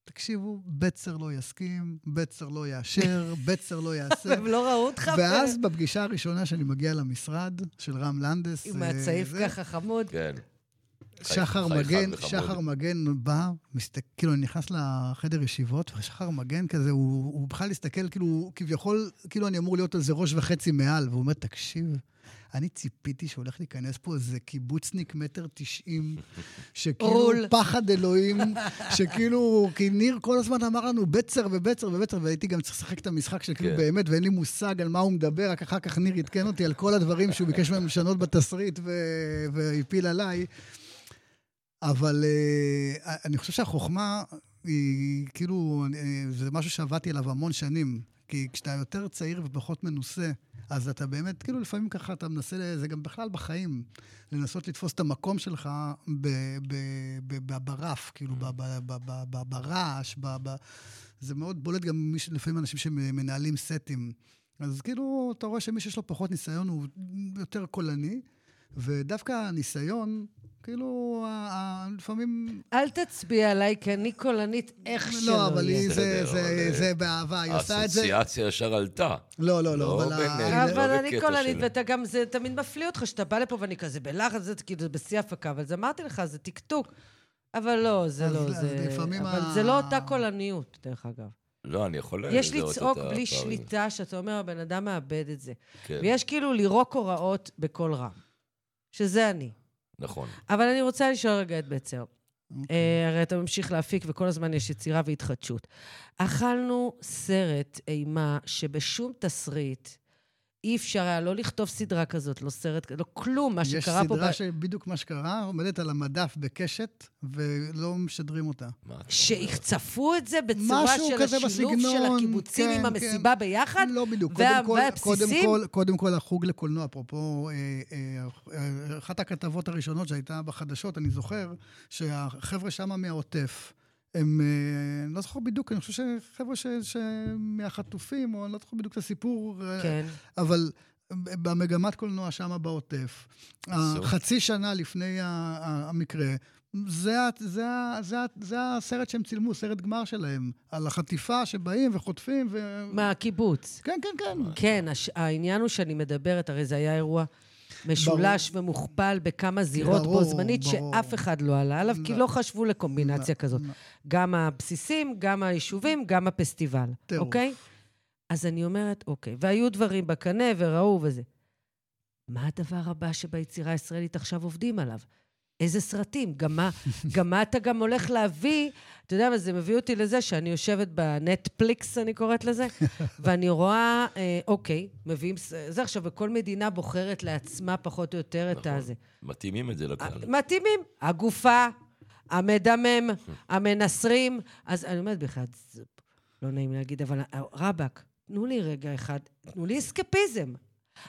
Speaker 5: תקשיבו, בצר לא יסכים, בצר לא יאשר, בצר לא יעשה.
Speaker 2: הם לא ראו אותך?
Speaker 5: ואז בפגישה הראשונה שאני מגיע למשרד, של רם לנדס,
Speaker 2: עם
Speaker 5: אה,
Speaker 2: הצעיף
Speaker 5: זה,
Speaker 2: ככה חמוד.
Speaker 3: כן.
Speaker 5: שחר
Speaker 3: חי- חי
Speaker 5: מגן,
Speaker 3: אחד וחמוד.
Speaker 5: שחר מגן בא, מסתכל, כאילו, אני נכנס לחדר ישיבות, ושחר מגן כזה, הוא, הוא בכלל הסתכל, כאילו, כביכול, כאילו אני אמור להיות על זה ראש וחצי מעל, והוא אומר, תקשיב, אני ציפיתי שהולך להיכנס פה איזה קיבוצניק מטר תשעים, שכאילו
Speaker 2: רול.
Speaker 5: פחד אלוהים, שכאילו, כי ניר כל הזמן אמר לנו בצר ובצר ובצר, והייתי גם צריך לשחק את המשחק של כאילו
Speaker 3: כן.
Speaker 5: באמת, ואין לי מושג על מה הוא מדבר, רק אחר כך ניר עדכן אותי על כל הדברים שהוא ביקש מהם לשנות בתסריט ו- והפיל עליי. אבל אה, אני חושב שהחוכמה היא כאילו, אה, זה משהו שעבדתי עליו המון שנים. כי כשאתה יותר צעיר ופחות מנוסה, אז אתה באמת, כאילו לפעמים ככה אתה מנסה, זה גם בכלל בחיים, לנסות לתפוס את המקום שלך ב, ב, ב, ב, ברף, כאילו ב, ב, ב, ב, ב, ברעש, ב, ב... זה מאוד בולט גם מי ש- לפעמים אנשים שמנהלים סטים. אז כאילו, אתה רואה שמי שיש לו פחות ניסיון הוא יותר קולני, ודווקא הניסיון, כאילו, ה- ה- לפעמים...
Speaker 2: אל תצביע עליי, כי אני קולנית איך שלא
Speaker 5: לא, אבל היא
Speaker 2: יהיה.
Speaker 5: זה,
Speaker 3: בסדר,
Speaker 5: זה, זה,
Speaker 3: אבל, אה,
Speaker 5: באהבה, היא עושה את זה.
Speaker 3: האסוציאציה ישר עלתה.
Speaker 5: לא,
Speaker 3: לא
Speaker 5: לא, לא, אבל... ה-
Speaker 3: בינינו.
Speaker 5: אני-
Speaker 3: לא
Speaker 2: אבל אני
Speaker 3: בקטע
Speaker 2: קולנית,
Speaker 3: של-
Speaker 2: ואתה גם, זה תמיד מפליא אותך, שאתה בא לפה ואני כזה בלחץ, זה כאילו זה בשיא ההפקה, אבל זה אמרתי לך, זה טקטוק. אבל לא, זה
Speaker 5: אז-
Speaker 2: לא,
Speaker 5: אז
Speaker 2: זה...
Speaker 5: לפעמים
Speaker 2: אבל
Speaker 5: ה-
Speaker 2: זה לא אותה קולניות, דרך אגב.
Speaker 3: לא, אני יכול
Speaker 2: יש
Speaker 3: לזהות את
Speaker 2: לצעוק בלי
Speaker 3: הפערים.
Speaker 2: שליטה, שאתה אומר, הבן אדם מאבד את זה.
Speaker 3: כן,
Speaker 2: ויש כאילו לירוק הוראות בקול רם, שזה אני.
Speaker 3: נכון.
Speaker 2: אבל אני רוצה לשאול רגע את בצר.
Speaker 5: אוקיי.
Speaker 2: אה, הרי אתה ממשיך להפיק, וכל הזמן יש יצירה והתחדשות. אכלנו סרט אימה שבשום תסריט אי אפשר היה לא לכתוב סדרה כזאת, לא סרט, כ- לא כלום, מה
Speaker 5: יש
Speaker 2: שקרה פה...
Speaker 5: סדרה
Speaker 2: ב-
Speaker 5: שבדיוק מה שקרה, עומדת על המדף בקשת, ולא משדרים אותה.
Speaker 3: מה אתה אומר?
Speaker 2: שצפו את זה בצורה
Speaker 5: משהו
Speaker 2: של
Speaker 5: כזה
Speaker 2: השילוב של
Speaker 5: בסגנון,
Speaker 2: הקיבוצים
Speaker 5: כן,
Speaker 2: עם המסיבה ביחד.
Speaker 5: לא בדיוק.
Speaker 2: וה-
Speaker 5: קודם כל-
Speaker 2: והבסיסים?
Speaker 5: קודם כל- קודם כל, החוג לקולנוע, אפרופו, אה, אה, אה, אחת הכתבות הראשונות שהייתה בחדשות, אני זוכר, שהחבר'ה שמה מהעוטף, הם, אה, אני לא זוכר בדיוק, אני חושב שחבר'ה ש- שמהחטופים, או אני לא זוכר בדיוק את הסיפור, אה,
Speaker 2: כן.
Speaker 5: אבל במגמת קולנוע שמה בעוטף,
Speaker 3: עשו.
Speaker 5: חצי שנה לפני ה- ה- המקרה, זה, ה- זה, ה- זה, ה- זה הסרט שהם צילמו, סרט גמר שלהם, על החטיפה שבאים וחוטפים ו...
Speaker 2: מהקיבוץ.
Speaker 5: כן, כן, כן.
Speaker 2: כן, הש... העניין הוא שאני מדברת, הרי זה היה אירוע משולש ומוכפל בכמה זירות
Speaker 5: כן, ברור,
Speaker 2: בו זמנית,
Speaker 5: ברור.
Speaker 2: שאף אחד לא עלה עליו, כי
Speaker 5: לא.
Speaker 2: לא חשבו לקומבינציה
Speaker 5: לא,
Speaker 2: כזאת.
Speaker 5: לא.
Speaker 2: גם הבסיסים, גם היישובים, גם הפסטיבל,
Speaker 5: טירוף.
Speaker 2: אוקיי? אז אני אומרת, אוקיי, והיו דברים בקנה וראו וזה. מה הדבר הבא שביצירה הישראלית עכשיו עובדים עליו? איזה סרטים? גם מה, גם מה אתה גם הולך להביא? אתה יודע מה, זה מביא אותי לזה שאני יושבת בנטפליקס, אני קוראת לזה, ואני רואה, אה, אוקיי, מביאים... ס- זה עכשיו, וכל מדינה בוחרת לעצמה פחות או יותר את
Speaker 3: נכון.
Speaker 2: הזה.
Speaker 3: מתאימים את זה
Speaker 2: אה,
Speaker 3: לקהל.
Speaker 2: מתאימים. הגופה, המדמם, המנסרים. אז אני אומרת בכלל, זה לא נעים להגיד, אבל אה, רבאק, תנו לי רגע אחד, תנו לי אסקפיזם.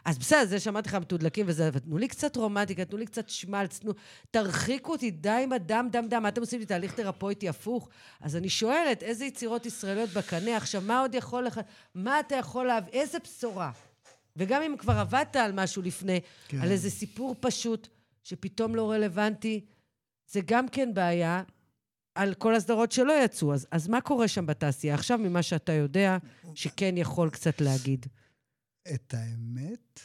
Speaker 2: אז בסדר, זה שמעתי לך מתודלקים וזה, אבל תנו לי קצת רומנטיקה, תנו לי קצת שמלץ, תנו... תרחיקו אותי, די עם הדם, דם, דם. מה אתם עושים לי תהליך תרפויטי הפוך? אז אני שואלת, איזה יצירות ישראליות בקנה עכשיו, מה עוד יכול לך... מה אתה יכול להביא? איזה בשורה? וגם אם כבר עבדת על משהו לפני, כן.
Speaker 5: כן.
Speaker 2: על איזה סיפור פשוט, שפתאום לא רלוונטי, זה גם כן בעיה על כל הסדרות שלא יצאו. אז, אז מה קורה שם בתעשייה עכשיו, ממה שאתה יודע, שכן יכול קצת להגיד?
Speaker 5: את האמת,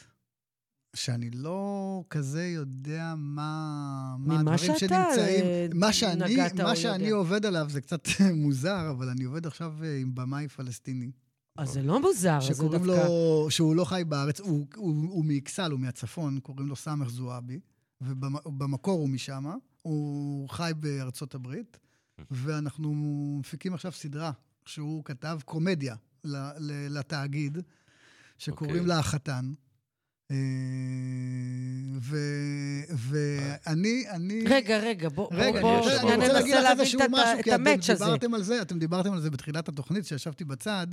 Speaker 5: שאני לא כזה יודע מה, מה
Speaker 2: ממה שאתה,
Speaker 5: הדברים שנמצאים.
Speaker 2: אה,
Speaker 5: מה שאני,
Speaker 2: נגעת או לא
Speaker 5: מה שאני
Speaker 2: יודע.
Speaker 5: עובד עליו זה קצת מוזר, אבל אני עובד עכשיו אה, עם במאי פלסטיני.
Speaker 2: אז זה לא מוזר, אז זה דווקא...
Speaker 5: שקוראים לו, שהוא לא חי בארץ, הוא, הוא, הוא מאכסל, הוא מהצפון, קוראים לו סאמח זועבי, ובמקור הוא משם, הוא חי בארצות הברית, ואנחנו מפיקים עכשיו סדרה שהוא כתב קומדיה ל, ל, לתאגיד, שקוראים
Speaker 3: אוקיי.
Speaker 5: לה החתן. אה, ו, ואני, אני...
Speaker 2: רגע, רגע, בוא, בוא,
Speaker 5: רגע, אני
Speaker 2: בוא
Speaker 3: רוצה-
Speaker 5: רוצה-
Speaker 2: שנייה
Speaker 5: אני רוצה להגיד
Speaker 2: ננסה
Speaker 5: לך
Speaker 2: להבין
Speaker 5: איזשהו
Speaker 2: את,
Speaker 5: משהו,
Speaker 2: ה- את
Speaker 5: כי אתם
Speaker 2: המאץ' הזה.
Speaker 5: דיברתם על זה, אתם דיברתם על זה בתחילת התוכנית, כשישבתי בצד,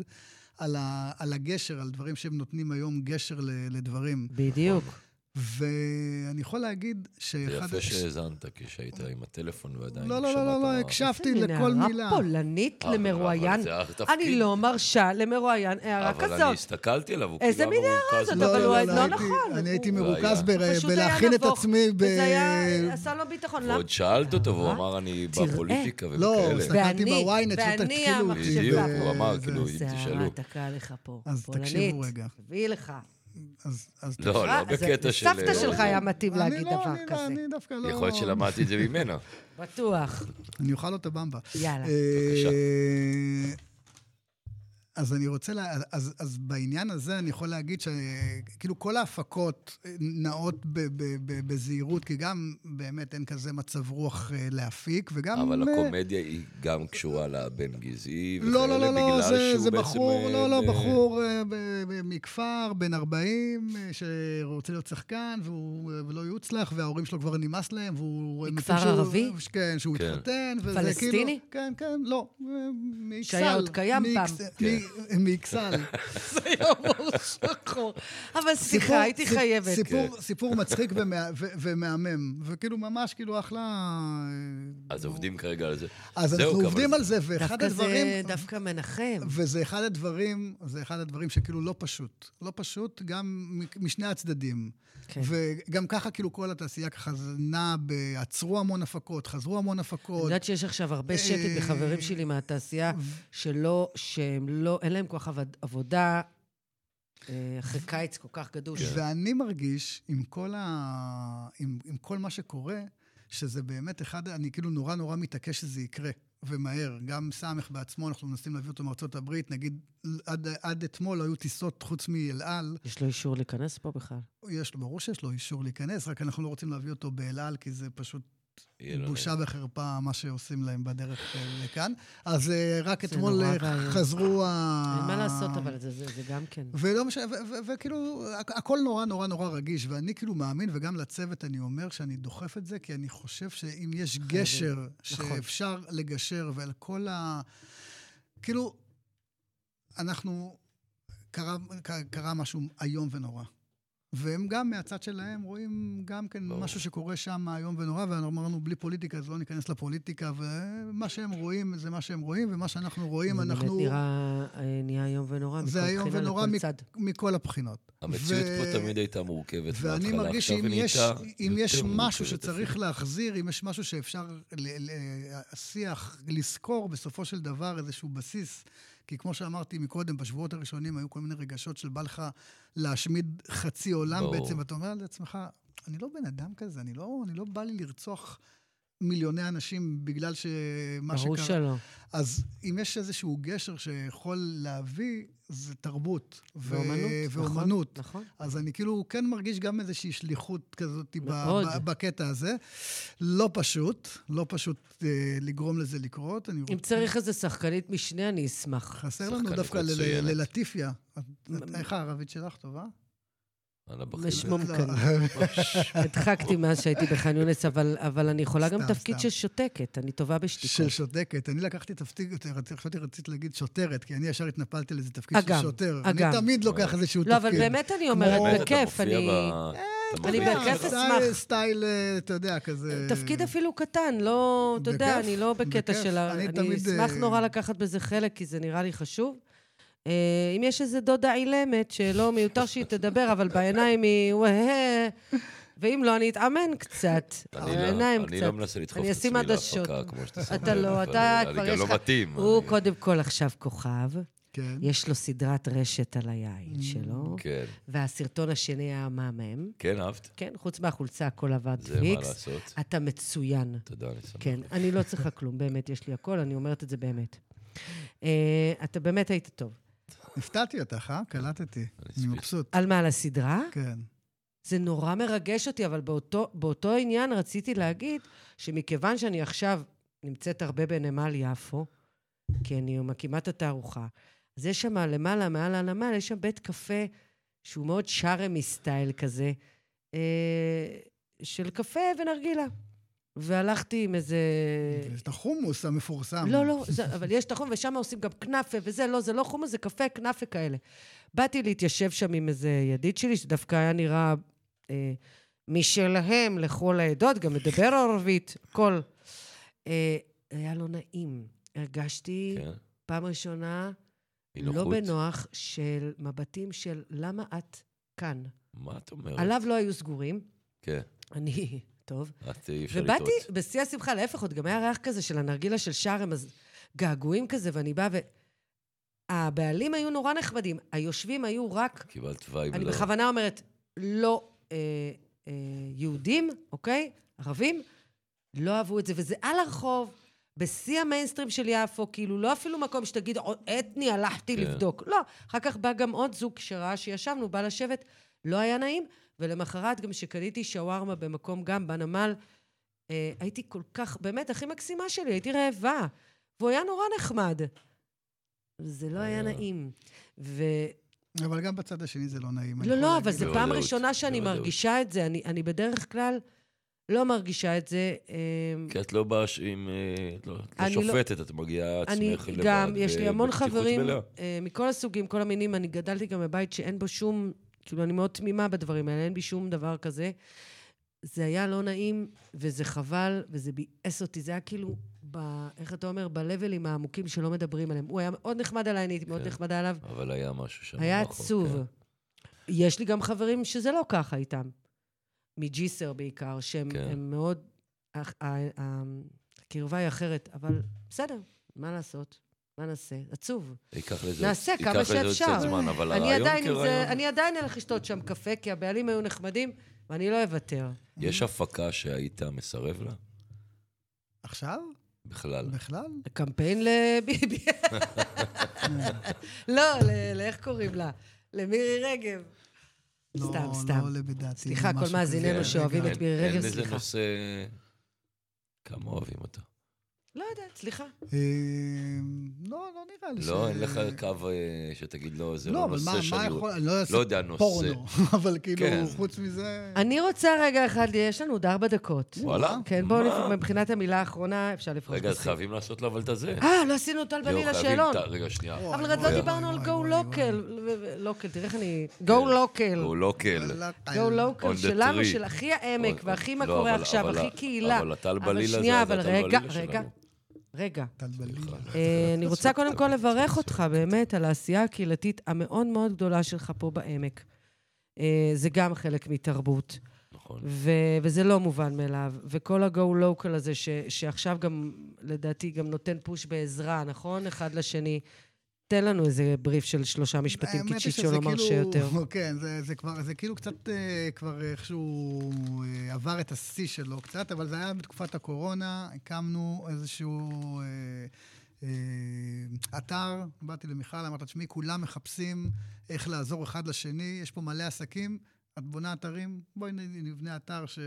Speaker 5: על, ה, על הגשר, על דברים שהם נותנים היום גשר ל, לדברים.
Speaker 2: בדיוק.
Speaker 5: ואני יכול להגיד
Speaker 3: זה
Speaker 5: שאחד...
Speaker 3: יפה שהאזנת כשהיית עם הטלפון ועדיין
Speaker 5: לא, לא, לא, לא, לא, הקשבתי
Speaker 2: הנה,
Speaker 5: לכל מילה.
Speaker 2: הערה פולנית
Speaker 3: אבל-
Speaker 2: למרואיין.
Speaker 3: אבל אה, זה התפקיד.
Speaker 2: אני לא מרשה למרואיין הערה
Speaker 3: אבל אני
Speaker 2: כזאת.
Speaker 3: הסתכלתי עליו, הוא כאילו
Speaker 2: איזה מין הערה
Speaker 3: מרוכז
Speaker 2: זאת?
Speaker 3: מאוד.
Speaker 2: אבל הוא היה- לא
Speaker 5: הייתי-
Speaker 2: נכון,
Speaker 5: אני הייתי
Speaker 2: הוא-
Speaker 5: מרוכז ב-
Speaker 2: פשוט היה
Speaker 5: אה, בלהכין את
Speaker 2: נבוך,
Speaker 5: עצמי ב... אה,
Speaker 2: וזה היה, עשה לו ביטחון. לא? למה?
Speaker 3: ועוד שאלת אותו, והוא
Speaker 2: אה,
Speaker 3: אמר, אני
Speaker 2: תראה.
Speaker 3: בפוליטיקה
Speaker 5: לא,
Speaker 3: וכאלה.
Speaker 5: הסתכלתי
Speaker 2: ואני-
Speaker 5: בוויינט, שלא
Speaker 2: ואני
Speaker 5: תתקילו אותי.
Speaker 2: המחשבה.
Speaker 3: בדיוק,
Speaker 5: ו-
Speaker 3: הוא אמר,
Speaker 5: זה-
Speaker 3: כאילו, אם
Speaker 2: זה
Speaker 3: תשאלו.
Speaker 2: הערה תקעה לך פה.
Speaker 5: אז
Speaker 2: פולנית.
Speaker 5: תקשיבו רגע.
Speaker 2: תביאי לך.
Speaker 5: אז- אז
Speaker 3: לא, לא
Speaker 2: אה, זה-
Speaker 3: בקטע של...
Speaker 2: סבתא שלך היה מתאים
Speaker 5: אני
Speaker 2: להגיד
Speaker 5: לא,
Speaker 2: דבר
Speaker 5: אני לא,
Speaker 2: כזה.
Speaker 5: אני דווקא לא...
Speaker 3: יכול להיות שלמדתי את זה ממנה.
Speaker 2: בטוח.
Speaker 5: אני אוכל אותה במבה.
Speaker 2: יאללה.
Speaker 3: בבקשה.
Speaker 5: אה, אז אני רוצה, לה, אז, אז בעניין הזה אני יכול להגיד שכאילו כל ההפקות נעות ב, ב, ב, בזהירות, כי גם באמת אין כזה מצב רוח אה, להפיק, וגם...
Speaker 3: אבל
Speaker 5: אה,
Speaker 3: הקומדיה היא גם קשורה לבן גזעי,
Speaker 5: לא, לא, לא,
Speaker 3: וכאלה,
Speaker 5: לא,
Speaker 3: בגלל
Speaker 5: זה,
Speaker 3: שהוא
Speaker 5: זה
Speaker 3: בעצם,
Speaker 5: בחור,
Speaker 3: אה,
Speaker 5: לא, לא,
Speaker 3: ב-
Speaker 5: בחור אה, ב- ב- מכפר, בן 40, אה, שרוצה להיות שחקן, והוא אה, ולא יוצלח, וההורים שלו כבר נמאס להם, והוא... הם
Speaker 2: מכפר
Speaker 5: מתים שהוא-
Speaker 2: ערבי?
Speaker 5: כן, שהוא
Speaker 3: כן.
Speaker 5: התחתן, וזה כאילו...
Speaker 2: פלסטיני?
Speaker 5: כן, כן, לא. אה, מאכסל.
Speaker 2: שהיה עוד קיים פעם.
Speaker 5: מאכס-
Speaker 3: כן.
Speaker 5: מ- אה, מאכסל.
Speaker 2: זה יומור שחור. אבל
Speaker 5: סיפור-
Speaker 2: סליחה, הייתי
Speaker 5: סיפ-
Speaker 2: חייבת.
Speaker 3: כן.
Speaker 5: סיפור- סיפור מצחיק ומה- ו- ומהמם, וכאילו ממש כאילו אחלה... אה,
Speaker 3: אז עובדים כרגע על זה.
Speaker 5: אז
Speaker 3: זהו,
Speaker 5: אנחנו
Speaker 3: אבל-
Speaker 5: עובדים על זה, ואחד
Speaker 2: דווקא
Speaker 5: הדברים...
Speaker 2: זה דווקא מנחם.
Speaker 5: וזה אחד הדברים, זה אחד הדברים שכאילו לא פשוט. לא פשוט גם מ- משני הצדדים.
Speaker 2: כן.
Speaker 5: וגם ככה כאילו כל התעשייה ככה זה נעה, ב- עצרו המון הפקות, חזרו המון
Speaker 2: אני
Speaker 5: הפקות.
Speaker 2: יודעת שיש עכשיו הרבה
Speaker 5: אה,
Speaker 2: שקט בחברים שלי מהתעשייה, שלא, שהם לא, אין להם כוח עבד- עבודה אה, אחרי קיץ כל כך גדוש.
Speaker 5: ואני מרגיש עם כל, ה... עם, עם כל מה שקורה, שזה באמת אחד, אני כאילו נורא נורא מתעקש שזה יקרה, ומהר. גם סמך בעצמו, אנחנו מנסים להביא אותו מארצות הברית, נגיד עד, עד אתמול לא היו טיסות חוץ מאל על,
Speaker 2: יש לו אישור להיכנס פה בכלל?
Speaker 5: יש לו, ברור שיש לו אישור להיכנס, רק אנחנו לא רוצים להביא אותו באל על, כי זה פשוט
Speaker 3: יהיה לו-
Speaker 5: בושה וחרפה מה שעושים להם בדרך אה, לכאן. אז אה,
Speaker 2: זה
Speaker 5: רק אתמול
Speaker 2: נורא
Speaker 5: אה,
Speaker 2: ואיום.
Speaker 5: חזרו ה...
Speaker 2: אין מה לעשות, אבל זה- זה זה גם כן.
Speaker 5: ולא משנה, ו- ו- וכאילו, הכ- הכל נורא נורא נורא רגיש, ואני כאילו מאמין, וגם לצוות אני אומר שאני דוחף את זה, כי אני חושב שאם יש גשר
Speaker 3: נכון.
Speaker 5: שאפשר לגשר, ועל כל ה... כאילו, אנחנו... קרה, ק- קרה משהו איום ונורא. והם גם מהצד שלהם רואים גם כן
Speaker 3: ברור.
Speaker 5: משהו שקורה שם איום ונורא, ואמרנו בלי פוליטיקה, אז לא ניכנס לפוליטיקה, ומה שהם רואים זה מה שהם רואים, ומה שאנחנו רואים,
Speaker 2: זה
Speaker 5: אנחנו...
Speaker 2: באמת נראה, אה, נהיה איום ונורא, מכל
Speaker 5: זה איום
Speaker 2: בחינה
Speaker 5: ונורא
Speaker 2: לכל
Speaker 5: מק-
Speaker 2: צד.
Speaker 5: מכל הבחינות.
Speaker 3: המציאות
Speaker 5: ו-
Speaker 3: פה תמיד הייתה מורכבת
Speaker 5: ואני
Speaker 3: מההתחלה,
Speaker 5: מרגיש
Speaker 3: עכשיו
Speaker 5: שאם
Speaker 3: היא
Speaker 5: יש,
Speaker 3: נהייתה
Speaker 5: אם יש
Speaker 3: יותר
Speaker 5: משהו
Speaker 3: מורכבת
Speaker 5: שצריך
Speaker 3: אפילו.
Speaker 5: להחזיר, אם יש משהו שאפשר, ל- ל- השיח, לזכור בסופו של דבר איזשהו בסיס, כי כמו שאמרתי מקודם, בשבועות הראשונים היו כל מיני רגשות של בא לך להשמיד חצי עולם
Speaker 3: ברור.
Speaker 5: בעצם, ואתה אומר לעצמך, אני לא בן אדם כזה, אני לא, אני לא בא לי לרצוח מיליוני אנשים בגלל שמה
Speaker 2: ברור
Speaker 5: שקרה.
Speaker 2: שלא.
Speaker 5: אז אם יש איזשהו גשר שיכול להביא, זה תרבות. ו-
Speaker 2: ואומנות. נכון,
Speaker 5: ואומנות.
Speaker 2: נכון.
Speaker 5: אז אני כאילו כן מרגיש גם איזושהי שליחות כזאת ב-
Speaker 2: מאוד.
Speaker 5: ב- בקטע הזה. לא פשוט, לא פשוט אה, לגרום לזה לקרות. אני
Speaker 2: אם
Speaker 5: רוצ-
Speaker 2: צריך איזה שחקנית משנה, אני אשמח.
Speaker 5: חסר לנו
Speaker 3: שחקנית
Speaker 5: דווקא ל-
Speaker 3: מצוינת.
Speaker 5: ללטיפיה. את- את- איך הערבית שלך טובה?
Speaker 3: על הבכיר.
Speaker 2: משמום
Speaker 5: לא.
Speaker 2: כאן. הדחקתי מאז שהייתי בח'אן יונס, אבל, אבל אני יכולה גם
Speaker 5: סתם,
Speaker 2: תפקיד
Speaker 5: סתם.
Speaker 2: של שותקת, אני טובה בשתיקות.
Speaker 5: של שותקת. אני לקחתי תפקיד, חשבתי רצית להגיד שוטרת, כי אני ישר התנפלתי לאיזה תפקיד של
Speaker 2: אגם,
Speaker 5: שוטר.
Speaker 2: אגם.
Speaker 5: אני תמיד לוקח איזשהו תפקיד.
Speaker 2: לא, אבל באמת אני
Speaker 5: כמו-
Speaker 2: אומרת,
Speaker 3: באמת, אתה
Speaker 2: בכיף,
Speaker 3: מופיע
Speaker 2: אני...
Speaker 5: אה,
Speaker 3: ב- אתה
Speaker 2: אני
Speaker 3: מופיע.
Speaker 2: בהרכב
Speaker 5: סטייל-
Speaker 2: אשמח.
Speaker 5: סטייל, אה, אתה יודע, כזה...
Speaker 2: תפקיד אפילו קטן, לא, אתה יודע,
Speaker 5: אה, בכיף,
Speaker 2: אני לא בקטע
Speaker 5: בכיף.
Speaker 2: של... ה-
Speaker 5: אני
Speaker 2: אני
Speaker 5: תמיד,
Speaker 2: אשמח
Speaker 5: אה,
Speaker 2: נורא לקחת בזה חלק, כי זה נראה לי חשוב. אה, אם יש איזה דודה אילמת, שלא מיותר שהיא תדבר, אבל בעיניים היא... "וואה", ואם לא, אני אתאמן קצת.
Speaker 3: אני לא-
Speaker 2: בעיניים
Speaker 3: אני
Speaker 2: קצת.
Speaker 3: לא מנסה לדחוף
Speaker 2: אני
Speaker 3: את
Speaker 2: אשים
Speaker 3: עצמי
Speaker 2: עדשות.
Speaker 3: להפקה, כמו שאתה שם
Speaker 2: אתה
Speaker 3: לב,
Speaker 2: לא,
Speaker 3: אבל
Speaker 2: אתה
Speaker 3: אני
Speaker 2: כבר
Speaker 3: גם
Speaker 2: יש
Speaker 3: לא
Speaker 2: לך...
Speaker 3: מתאים.
Speaker 2: הוא
Speaker 3: אני-
Speaker 2: קודם כל עכשיו כוכב,
Speaker 5: כן.
Speaker 2: יש לו סדרת רשת על היין שלו,
Speaker 3: כן,
Speaker 2: והסרטון השני היה מהמם.
Speaker 3: כן, אהבת?
Speaker 2: כן, חוץ מהחולצה הכל עבד
Speaker 3: זה מה
Speaker 2: פיקס.
Speaker 3: לעשות.
Speaker 2: אתה מצוין.
Speaker 3: תודה, אני שמח.
Speaker 2: כן, אני לא צריכה כלום, באמת, יש לי הכל, אני אומרת את זה באמת. אה, אתה באמת היית טוב.
Speaker 5: הפתעתי אותך, אה? קלטתי. אני
Speaker 3: אסביר.
Speaker 5: מבסוט.
Speaker 2: על מה, על הסדרה?
Speaker 5: כן.
Speaker 2: זה נורא מרגש אותי, אבל באותו, באותו עניין רציתי להגיד שמכיוון שאני עכשיו נמצאת הרבה בנמל יפו, כי אני מקימה את התערוכה, אז יש שם למעלה, מעל הנמל, יש שם בית קפה שהוא מאוד שארמי סטייל כזה, אה, של קפה ונרגילה. והלכתי עם איזה...
Speaker 5: יש את החומוס המפורסם.
Speaker 2: אה, לא, לא, זה, אבל יש את החומוס, ושם עושים גם כנאפה וזה, לא, זה לא חומוס, זה קפה, כנאפה כאלה. באתי להתיישב שם עם איזה ידיד שלי, שדווקא היה נראה אה, משלהם לכל העדות, גם מדבר ערבית, הכל. אה, היה לא נעים. הרגשתי
Speaker 3: כן?
Speaker 2: פעם ראשונה לא
Speaker 3: אי-נוחות?
Speaker 2: בנוח של מבטים של למה את כאן.
Speaker 3: מה את אומרת?
Speaker 2: עליו לא היו סגורים,
Speaker 3: כן,
Speaker 2: אני, טוב.
Speaker 3: את אי אפשר לטעות.
Speaker 2: ובאתי בשיא השמחה, להפך, עוד גם היה ריח כזה של הנרגילה של שארם, אז געגועים כזה, ואני באה ו... הבעלים היו נורא נחמדים, היושבים היו רק,
Speaker 3: קיבלת וייב
Speaker 2: אני
Speaker 3: לא.
Speaker 2: בכוונה אומרת, לא אה, אה, יהודים, אוקיי? ערבים, לא אהבו את זה, וזה על הרחוב, בשיא המיינסטרים של יפו, כאילו, לא אפילו מקום שתגיד, "או, אתני, הלכתי
Speaker 3: כן.
Speaker 2: לבדוק. לא, אחר כך בא גם עוד זוג שראה שישבנו, בא לשבת, לא היה נעים, ולמחרת גם שקניתי שווארמה במקום גם בנמל, אה, הייתי כל כך, באמת, הכי מקסימה שלי, הייתי רעבה. והוא היה נורא נחמד. זה לא היה
Speaker 3: היה.
Speaker 2: נעים. ו...
Speaker 5: אבל גם בצד השני זה לא נעים. אני
Speaker 2: לא,
Speaker 5: יכול
Speaker 2: לא,
Speaker 5: להגיד.
Speaker 2: אבל זו
Speaker 3: בוודאות,
Speaker 2: פעם ראשונה שאני
Speaker 3: בוודאות.
Speaker 2: מרגישה את זה. אני- אני בדרך כלל לא מרגישה את זה. אה,
Speaker 3: כי את לא באה ש- עם... אה, את לא את לא
Speaker 2: אני לא-
Speaker 3: שופטת, את מגיעה
Speaker 2: אני
Speaker 3: עצמך לבד.
Speaker 2: גם, יש לי המון
Speaker 3: ובפתיחות
Speaker 2: חברים
Speaker 3: מלאה.
Speaker 2: אה, מכל הסוגים, כל המינים. אני גדלתי גם בבית שאין בו שום, כאילו, אני מאוד תמימה בדברים האלה, אין בי שום דבר כזה. זה היה לא נעים, וזה חבל, וזה ביאס אותי. זה היה כאילו, ב, איך אתה אומר, בלבלים העמוקים שלא מדברים עליהם. הוא היה מאוד נחמד עליי, אני הייתי מאוד
Speaker 3: כן.
Speaker 2: נחמדה עליו.
Speaker 3: אבל היה משהו שם.
Speaker 2: היה
Speaker 3: מאחור,
Speaker 2: עצוב.
Speaker 3: כן.
Speaker 2: יש לי גם חברים שזה לא ככה איתם. מג'יסר בעיקר, שהם
Speaker 3: כן.
Speaker 2: כן. מאוד... הח- ה- ה- הקרבה היא אחרת, אבל בסדר, מה לעשות? מה נעשה? עצוב.
Speaker 3: כן. ייקח לזה...
Speaker 2: נעשה כמה
Speaker 3: ייקח לזה עוד
Speaker 2: שאפשר.
Speaker 3: קצת זמן, אבל
Speaker 2: אני
Speaker 3: לא, הרעיון
Speaker 2: עדיין, עם זה,
Speaker 3: כרעיון...
Speaker 2: אני עדיין אלך לשתות שם קפה, כי הבעלים היו נחמדים, ואני לא אוותר.
Speaker 3: יש הפקה שהיית מסרב לה?
Speaker 5: עכשיו?
Speaker 3: בכלל.
Speaker 5: בכלל?
Speaker 2: קמפיין לביבי. לא, ל- לאיך קוראים לה? למירי רגב.
Speaker 5: לא,
Speaker 2: סתם, סתם.
Speaker 5: לא עולה בדעתי.
Speaker 2: סליחה, כל
Speaker 5: משהו כזה.
Speaker 2: מאזיננו
Speaker 5: רגע,
Speaker 2: שאוהבים את
Speaker 3: כן. אין-
Speaker 2: מירי רגב,
Speaker 3: אין איזה
Speaker 2: סליחה.
Speaker 3: נושא... כמה אוהבים אותה.
Speaker 2: לא יודעת, סליחה.
Speaker 5: אה, לא, לא נראה לי
Speaker 3: לא, אין לך קו אה, שתגיד לא, זה
Speaker 5: לא,
Speaker 3: לא
Speaker 5: אבל מה,
Speaker 3: נושא
Speaker 5: מה
Speaker 3: שאני...
Speaker 5: יכול... אני לא אעשה
Speaker 3: לא יודע, נושא.
Speaker 5: פורנו, אבל כאילו,
Speaker 3: כן.
Speaker 5: חוץ מזה...
Speaker 2: אני רוצה רגע אחד, יש לנו עוד ארבע דקות.
Speaker 3: וואלה?
Speaker 2: כן, בואו
Speaker 3: מה?
Speaker 2: נפ... מבחינת המילה האחרונה, אפשר לפרוש
Speaker 3: רגע, אז
Speaker 2: בשיא.
Speaker 3: חייבים לעשות לו אבל את הזה.
Speaker 2: אה, לא עשינו טל בליל
Speaker 3: זהו, חייבים
Speaker 2: השאלון.
Speaker 3: את ה- רגע, שנייה.
Speaker 5: וואי,
Speaker 2: אבל
Speaker 5: וואי,
Speaker 2: עוד לא
Speaker 5: וואי,
Speaker 2: דיברנו על
Speaker 5: וואי,
Speaker 2: גו
Speaker 5: וואי,
Speaker 2: לוקל. לוקל, תראה איך אני... גו לוקל.
Speaker 3: הוא לא קל.
Speaker 5: וואי. וואי,
Speaker 2: גו
Speaker 3: כן. On
Speaker 2: לוקל
Speaker 3: the
Speaker 2: שלנו,
Speaker 3: tree.
Speaker 2: של הכי העמק
Speaker 3: עוד-
Speaker 2: והכי מה
Speaker 3: לא,
Speaker 2: קורה
Speaker 3: אבל-
Speaker 2: עכשיו,
Speaker 3: אבל
Speaker 2: הכי
Speaker 3: ה-
Speaker 2: קהילה.
Speaker 3: אבל הטל בליל הזה,
Speaker 2: שנייה,
Speaker 3: זה
Speaker 2: אבל
Speaker 3: הטל
Speaker 2: רגע,
Speaker 3: בליל
Speaker 2: רגע,
Speaker 3: שלנו.
Speaker 2: רגע.
Speaker 5: טל בליל.
Speaker 2: אה, אני רוצה קודם כל לברך אותך באמת על העשייה הקהילתית המאוד מאוד גדולה שלך פה בעמק. אה, זה גם חלק מתרבות.
Speaker 3: נכון.
Speaker 2: ו- וזה לא מובן מאליו. וכל ה-go local הזה, ש- שעכשיו גם, לדעתי, גם נותן פוש בעזרה, נכון? אחד לשני. תן לנו איזה בריף של שלושה משפטים, כי
Speaker 5: האמת היא
Speaker 2: צ'יצ'ו
Speaker 5: שזה
Speaker 2: לא מרשה
Speaker 5: כאילו-
Speaker 2: יותר.
Speaker 5: כן, זה, זה, כבר, זה כאילו קצת אה, כבר איכשהו אה, עבר את השיא שלו קצת, אבל זה היה בתקופת הקורונה, הקמנו איזשהו אה, אה, אתר, באתי למיכל, אמרת, תשמעי, כולם מחפשים איך לעזור אחד לשני, יש פה מלא עסקים, את בונה אתרים, בואי נ- נבנה אתר ש...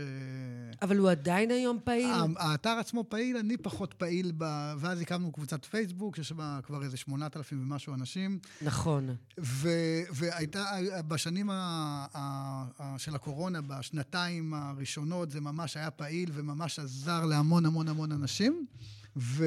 Speaker 2: אבל הוא עדיין היום פעיל.
Speaker 5: ה- האתר עצמו פעיל, אני פחות פעיל, ב... ואז הקמנו קבוצת פייסבוק, שיש בה כבר איזה 8,000 ומשהו אנשים.
Speaker 2: נכון.
Speaker 5: ו- והייתה, בשנים ה- ה- ה- של הקורונה, בשנתיים הראשונות, זה ממש היה פעיל וממש עזר להמון המון המון אנשים. ו...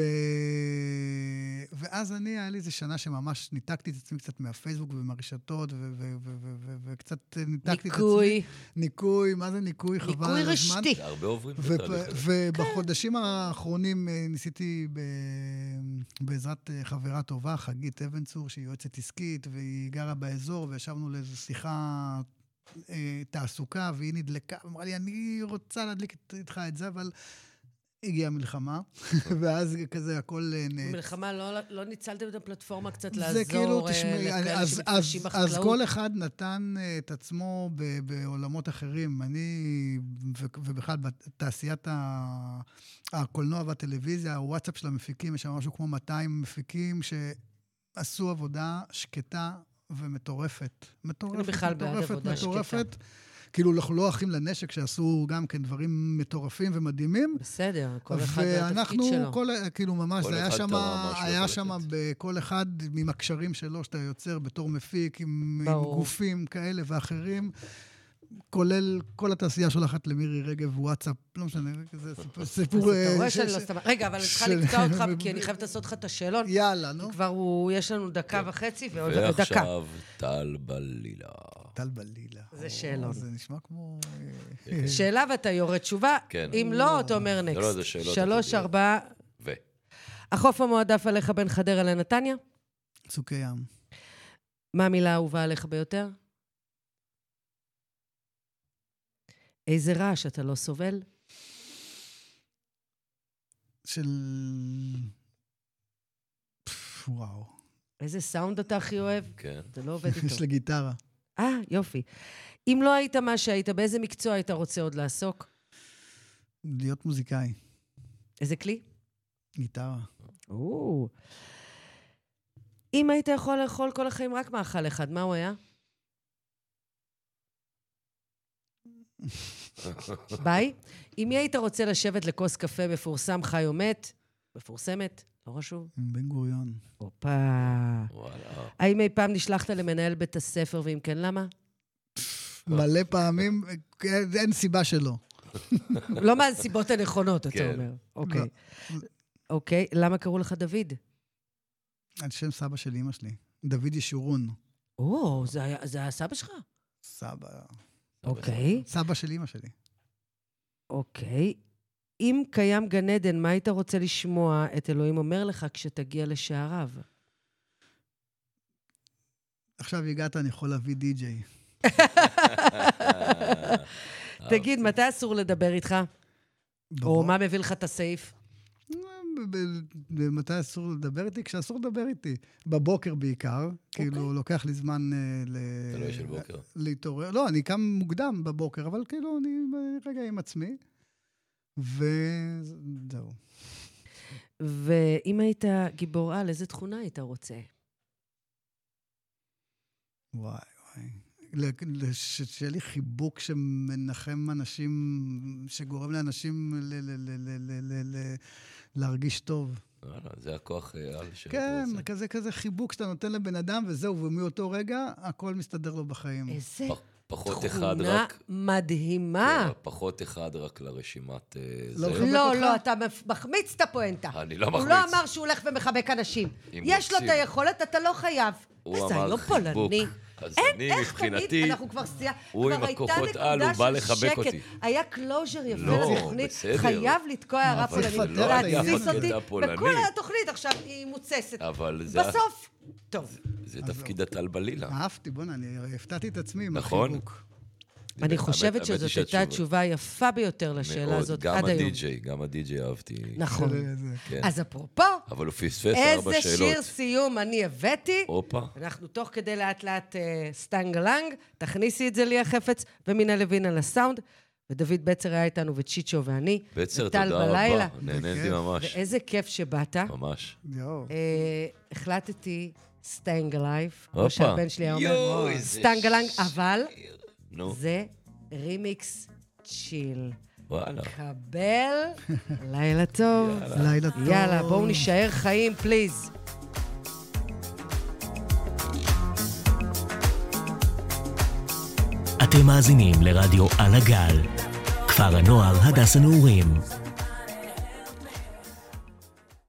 Speaker 5: ואז אני, היה לי איזה שנה שממש ניתקתי את עצמי קצת מהפייסבוק ומהרשתות, ו- ו- ו- ו- ו- וקצת ניתקתי את
Speaker 2: ניקוי,
Speaker 5: עצמי. ניקוי. מה זה ניקוי? חבל
Speaker 2: ניקוי
Speaker 5: על הזמן.
Speaker 2: רשתי.
Speaker 3: זה הרבה עוברים את
Speaker 5: ופ-
Speaker 3: התהליך הזה.
Speaker 5: ובחודשים האחרונים אה, ניסיתי ב- בעזרת אה, חברה טובה, חגית אבן צור, שהיא יועצת עסקית, והיא גרה באזור, וישבנו לאיזו שיחה אה, תעסוקה, והיא נדלקה, אמרה לי, אני רוצה להדליק את- איתך את זה, אבל הגיעה מלחמה, ואז כזה הכל אה, נעצר.
Speaker 2: מלחמה, לא- לא ניצלתם את הפלטפורמה קצת
Speaker 5: זה כאילו,
Speaker 2: לעזור אה,
Speaker 5: תשמעי, אני-
Speaker 2: לכאלה
Speaker 5: אז- אז-
Speaker 2: שמתקשים
Speaker 5: אז
Speaker 2: בחקלאות?
Speaker 5: כל אחד נתן אה, את עצמו ב- בעולמות אחרים. אני, ו- ובכלל בתעשיית ה- הקולנוע והטלוויזיה, הוואטסאפ של המפיקים, יש שם משהו כמו 200 מפיקים שעשו עבודה שקטה ומטורפת. מטורפת,
Speaker 2: בכלל בעד
Speaker 5: מטורפת,
Speaker 2: עבודה שקטה.
Speaker 5: מטורפת. כאילו, אנחנו לא אחים לנשק, שעשו גם כן דברים מטורפים ומדהימים.
Speaker 2: בסדר, כל אחד והתפקיד
Speaker 5: ואנחנו,
Speaker 2: שלו.
Speaker 5: כל, כאילו ממש,
Speaker 3: כל
Speaker 5: זה היה
Speaker 3: אחד
Speaker 5: שם,
Speaker 3: תרם משהו
Speaker 5: היה
Speaker 3: יכול
Speaker 5: שם
Speaker 3: לתת.
Speaker 5: בכל אחד עם הקשרים שלו שאתה יוצר בתור מפיק, עם, עם
Speaker 2: ברור.
Speaker 5: גופים כאלה ואחרים. כולל כל התעשייה שולחת למירי רגב וואטסאפ, לא משנה, זה סיפור-
Speaker 2: אז
Speaker 5: סיפור...
Speaker 2: אתה
Speaker 5: אה,
Speaker 2: רואה
Speaker 5: ש-
Speaker 2: שאני
Speaker 5: ש-
Speaker 2: לא סתם... רגע, אבל אני צריכה
Speaker 5: של-
Speaker 2: לקטוע אותך, כי אני חייבת לעשות לך את השאלון.
Speaker 5: יאללה, נו.
Speaker 2: כבר הוא- יש לנו דקה וחצי ועוד דקה.
Speaker 3: ועכשיו טל בלילה.
Speaker 5: טל בלילה.
Speaker 2: זה
Speaker 5: או,
Speaker 2: שאלון.
Speaker 5: זה נשמע כמו... אה,
Speaker 2: שאלה ואתה יורד תשובה,
Speaker 3: כן.
Speaker 2: אם לא, אתה אומר נקסט.
Speaker 3: לא, זה שאלות
Speaker 2: שלוש,
Speaker 3: עתידיות.
Speaker 2: ארבע...
Speaker 3: ו...
Speaker 2: החוף המועדף עליך בין חדרה לנתניה?
Speaker 5: צוקי ים.
Speaker 2: מה המילה האהובה עליך ביותר? איזה רעש אתה לא סובל?
Speaker 5: של... פפ, וואו.
Speaker 2: איזה סאונד אתה הכי אוהב?
Speaker 3: כן.
Speaker 2: זה לא עובד
Speaker 5: יש
Speaker 2: איתו.
Speaker 5: לי גיטרה.
Speaker 2: אה, יופי. אם לא היית מה שהיית, באיזה מקצוע היית רוצה עוד לעסוק?
Speaker 5: להיות מוזיקאי.
Speaker 2: איזה כלי?
Speaker 5: גיטרה.
Speaker 2: או. אם היית יכול לאכול כל החיים רק מאכל אחד, מה הוא היה? ביי. עם מי היית רוצה לשבת לכוס קפה מפורסם חי או מת? מפורסמת, לא חשוב.
Speaker 5: עם בן גוריון.
Speaker 2: הופה.
Speaker 3: וואלה.
Speaker 2: האם אי פעם נשלחת למנהל בית הספר, ואם כן, למה?
Speaker 5: מלא פעמים, אין- אין סיבה שלא.
Speaker 2: לא מהסיבות הנכונות, אתה
Speaker 3: כן.
Speaker 2: אומר. אוקיי. אוקיי, למה קראו לך דוד?
Speaker 5: על שם סבא של אימא שלי. דוד ישורון.
Speaker 2: או, זה היה- זה היה סבא שלך?
Speaker 5: סבא.
Speaker 2: אוקיי.
Speaker 5: סבא של אימא שלי.
Speaker 2: אוקיי. אם קיים גן עדן, מה היית רוצה לשמוע את אלוהים אומר לך כשתגיע לשעריו?
Speaker 3: אה,
Speaker 5: עכשיו הגעת, אני יכול להביא די-ג'יי.
Speaker 2: תגיד,
Speaker 3: אוקיי.
Speaker 2: מתי אסור לדבר איתך? או מה מביא לך את הסעיף?
Speaker 5: ב- ב- מתי אסור לדבר איתי? כשאסור לדבר איתי. בבוקר בעיקר. כאילו, לוקח לי זמן אה, ל...
Speaker 3: אוקיי. תלוי של בוקר.
Speaker 5: להתעורר. לא, אני קם מוקדם בבוקר, אבל כאילו, אני אה, רגע עם עצמי. וזהו.
Speaker 2: ואם היית גיבור על, איזה תכונה היית רוצה?
Speaker 5: וואי, וואי. ל- לש- שיהיה לי חיבוק שמנחם אנשים, שגורם לאנשים ל- ל- ל- ל- ל- ל- ל- להרגיש טוב.
Speaker 3: וואלה, זה הכוח אה, על שאתה
Speaker 5: כן,
Speaker 3: רוצה.
Speaker 5: כזה כזה חיבוק שאתה נותן לבן אדם, וזהו, ומאותו רגע הכל מסתדר לו בחיים.
Speaker 2: איזה
Speaker 3: פח- פחות אחד
Speaker 2: תכונה
Speaker 3: רק...
Speaker 2: מדהימה.
Speaker 3: כן, פחות אחד רק לרשימת אה,
Speaker 5: לא
Speaker 3: זה.
Speaker 5: חייב.
Speaker 2: לא,
Speaker 5: אותך?
Speaker 2: לא, אתה מפ- מחמיץ את הפואנטה.
Speaker 3: אני לא
Speaker 2: הוא
Speaker 3: מחמיץ.
Speaker 2: לא אמר שהוא הולך ומחבק אנשים.
Speaker 3: אם
Speaker 2: יש לו את
Speaker 3: רוצים.
Speaker 2: היכולת, אתה לא חייב.
Speaker 3: הוא
Speaker 2: איזה
Speaker 3: אמר
Speaker 2: היום
Speaker 3: חיבוק.
Speaker 2: פולני.
Speaker 3: אז
Speaker 2: אין,
Speaker 3: אני
Speaker 2: איך תמיד,
Speaker 3: מבחינתי...
Speaker 2: אנחנו כבר סייע...
Speaker 3: הוא עם הכוחות על, הוא בא לחבק אותי.
Speaker 2: היה קלוז'ר יפה
Speaker 3: לא,
Speaker 2: לתוכנית,
Speaker 3: בסדר.
Speaker 2: חייב לתקוע הערה
Speaker 5: אבל זה
Speaker 2: פולנית,
Speaker 5: לא היה
Speaker 2: להתסיס
Speaker 5: הקטע
Speaker 2: אותי,
Speaker 3: הפולני.
Speaker 2: וכל התוכנית עכשיו היא מוצסת.
Speaker 3: אבל זה-
Speaker 2: בסוף, טוב.
Speaker 3: זה תפקיד
Speaker 2: לא
Speaker 3: הטל בלילה.
Speaker 5: אהבתי, בוא'נה, אני הפתעתי את עצמי עם
Speaker 3: נכון.
Speaker 5: החיבוק.
Speaker 2: אני
Speaker 3: האמת-
Speaker 2: חושבת
Speaker 3: האמת היא
Speaker 2: שזאת
Speaker 3: שהתשובה-
Speaker 2: הייתה התשובה היפה ביותר לשאלה
Speaker 3: מאוד,
Speaker 2: הזאת
Speaker 3: גם
Speaker 2: עד היום.
Speaker 3: הדי-ג'יי, גם הדי-ג'יי אהבתי.
Speaker 2: נכון.
Speaker 5: זה- זה-
Speaker 3: כן.
Speaker 2: אז אפרופו,
Speaker 3: אבל הוא פספס ארבע
Speaker 2: איזה
Speaker 3: שאלות.
Speaker 2: שיר סיום אני הבאתי.
Speaker 3: הופה.
Speaker 2: אנחנו תוך כדי לאט לאט אה, סטנגלנג, תכניסי את זה ליה חפץ ומינה לוין על הסאונד, ודוד בצר היה איתנו וצ'יצ'ו ואני.
Speaker 3: בצר,
Speaker 2: וטל
Speaker 3: תודה
Speaker 2: בלילה. כן.
Speaker 3: רבה. נהניתי
Speaker 5: בכיף.
Speaker 3: ממש.
Speaker 2: ואיזה כיף שבאת.
Speaker 3: ממש.
Speaker 5: יואו.
Speaker 2: אה, החלטתי סטנג לייף,
Speaker 3: הופה.
Speaker 2: כמו שהבן שלי היה אומר,
Speaker 3: יואו, איזה
Speaker 2: סטנגלנג, אבל
Speaker 3: נו,
Speaker 2: זה רימיקס צ'יל.
Speaker 3: וואלה.
Speaker 2: קבל, לילה טוב.
Speaker 5: לילה טוב.
Speaker 2: אה, יאללה, בואו נישאר חיים, פליז.
Speaker 1: אתם מאזינים לרדיו על הגל, כפר הנוער הדס הנעורים,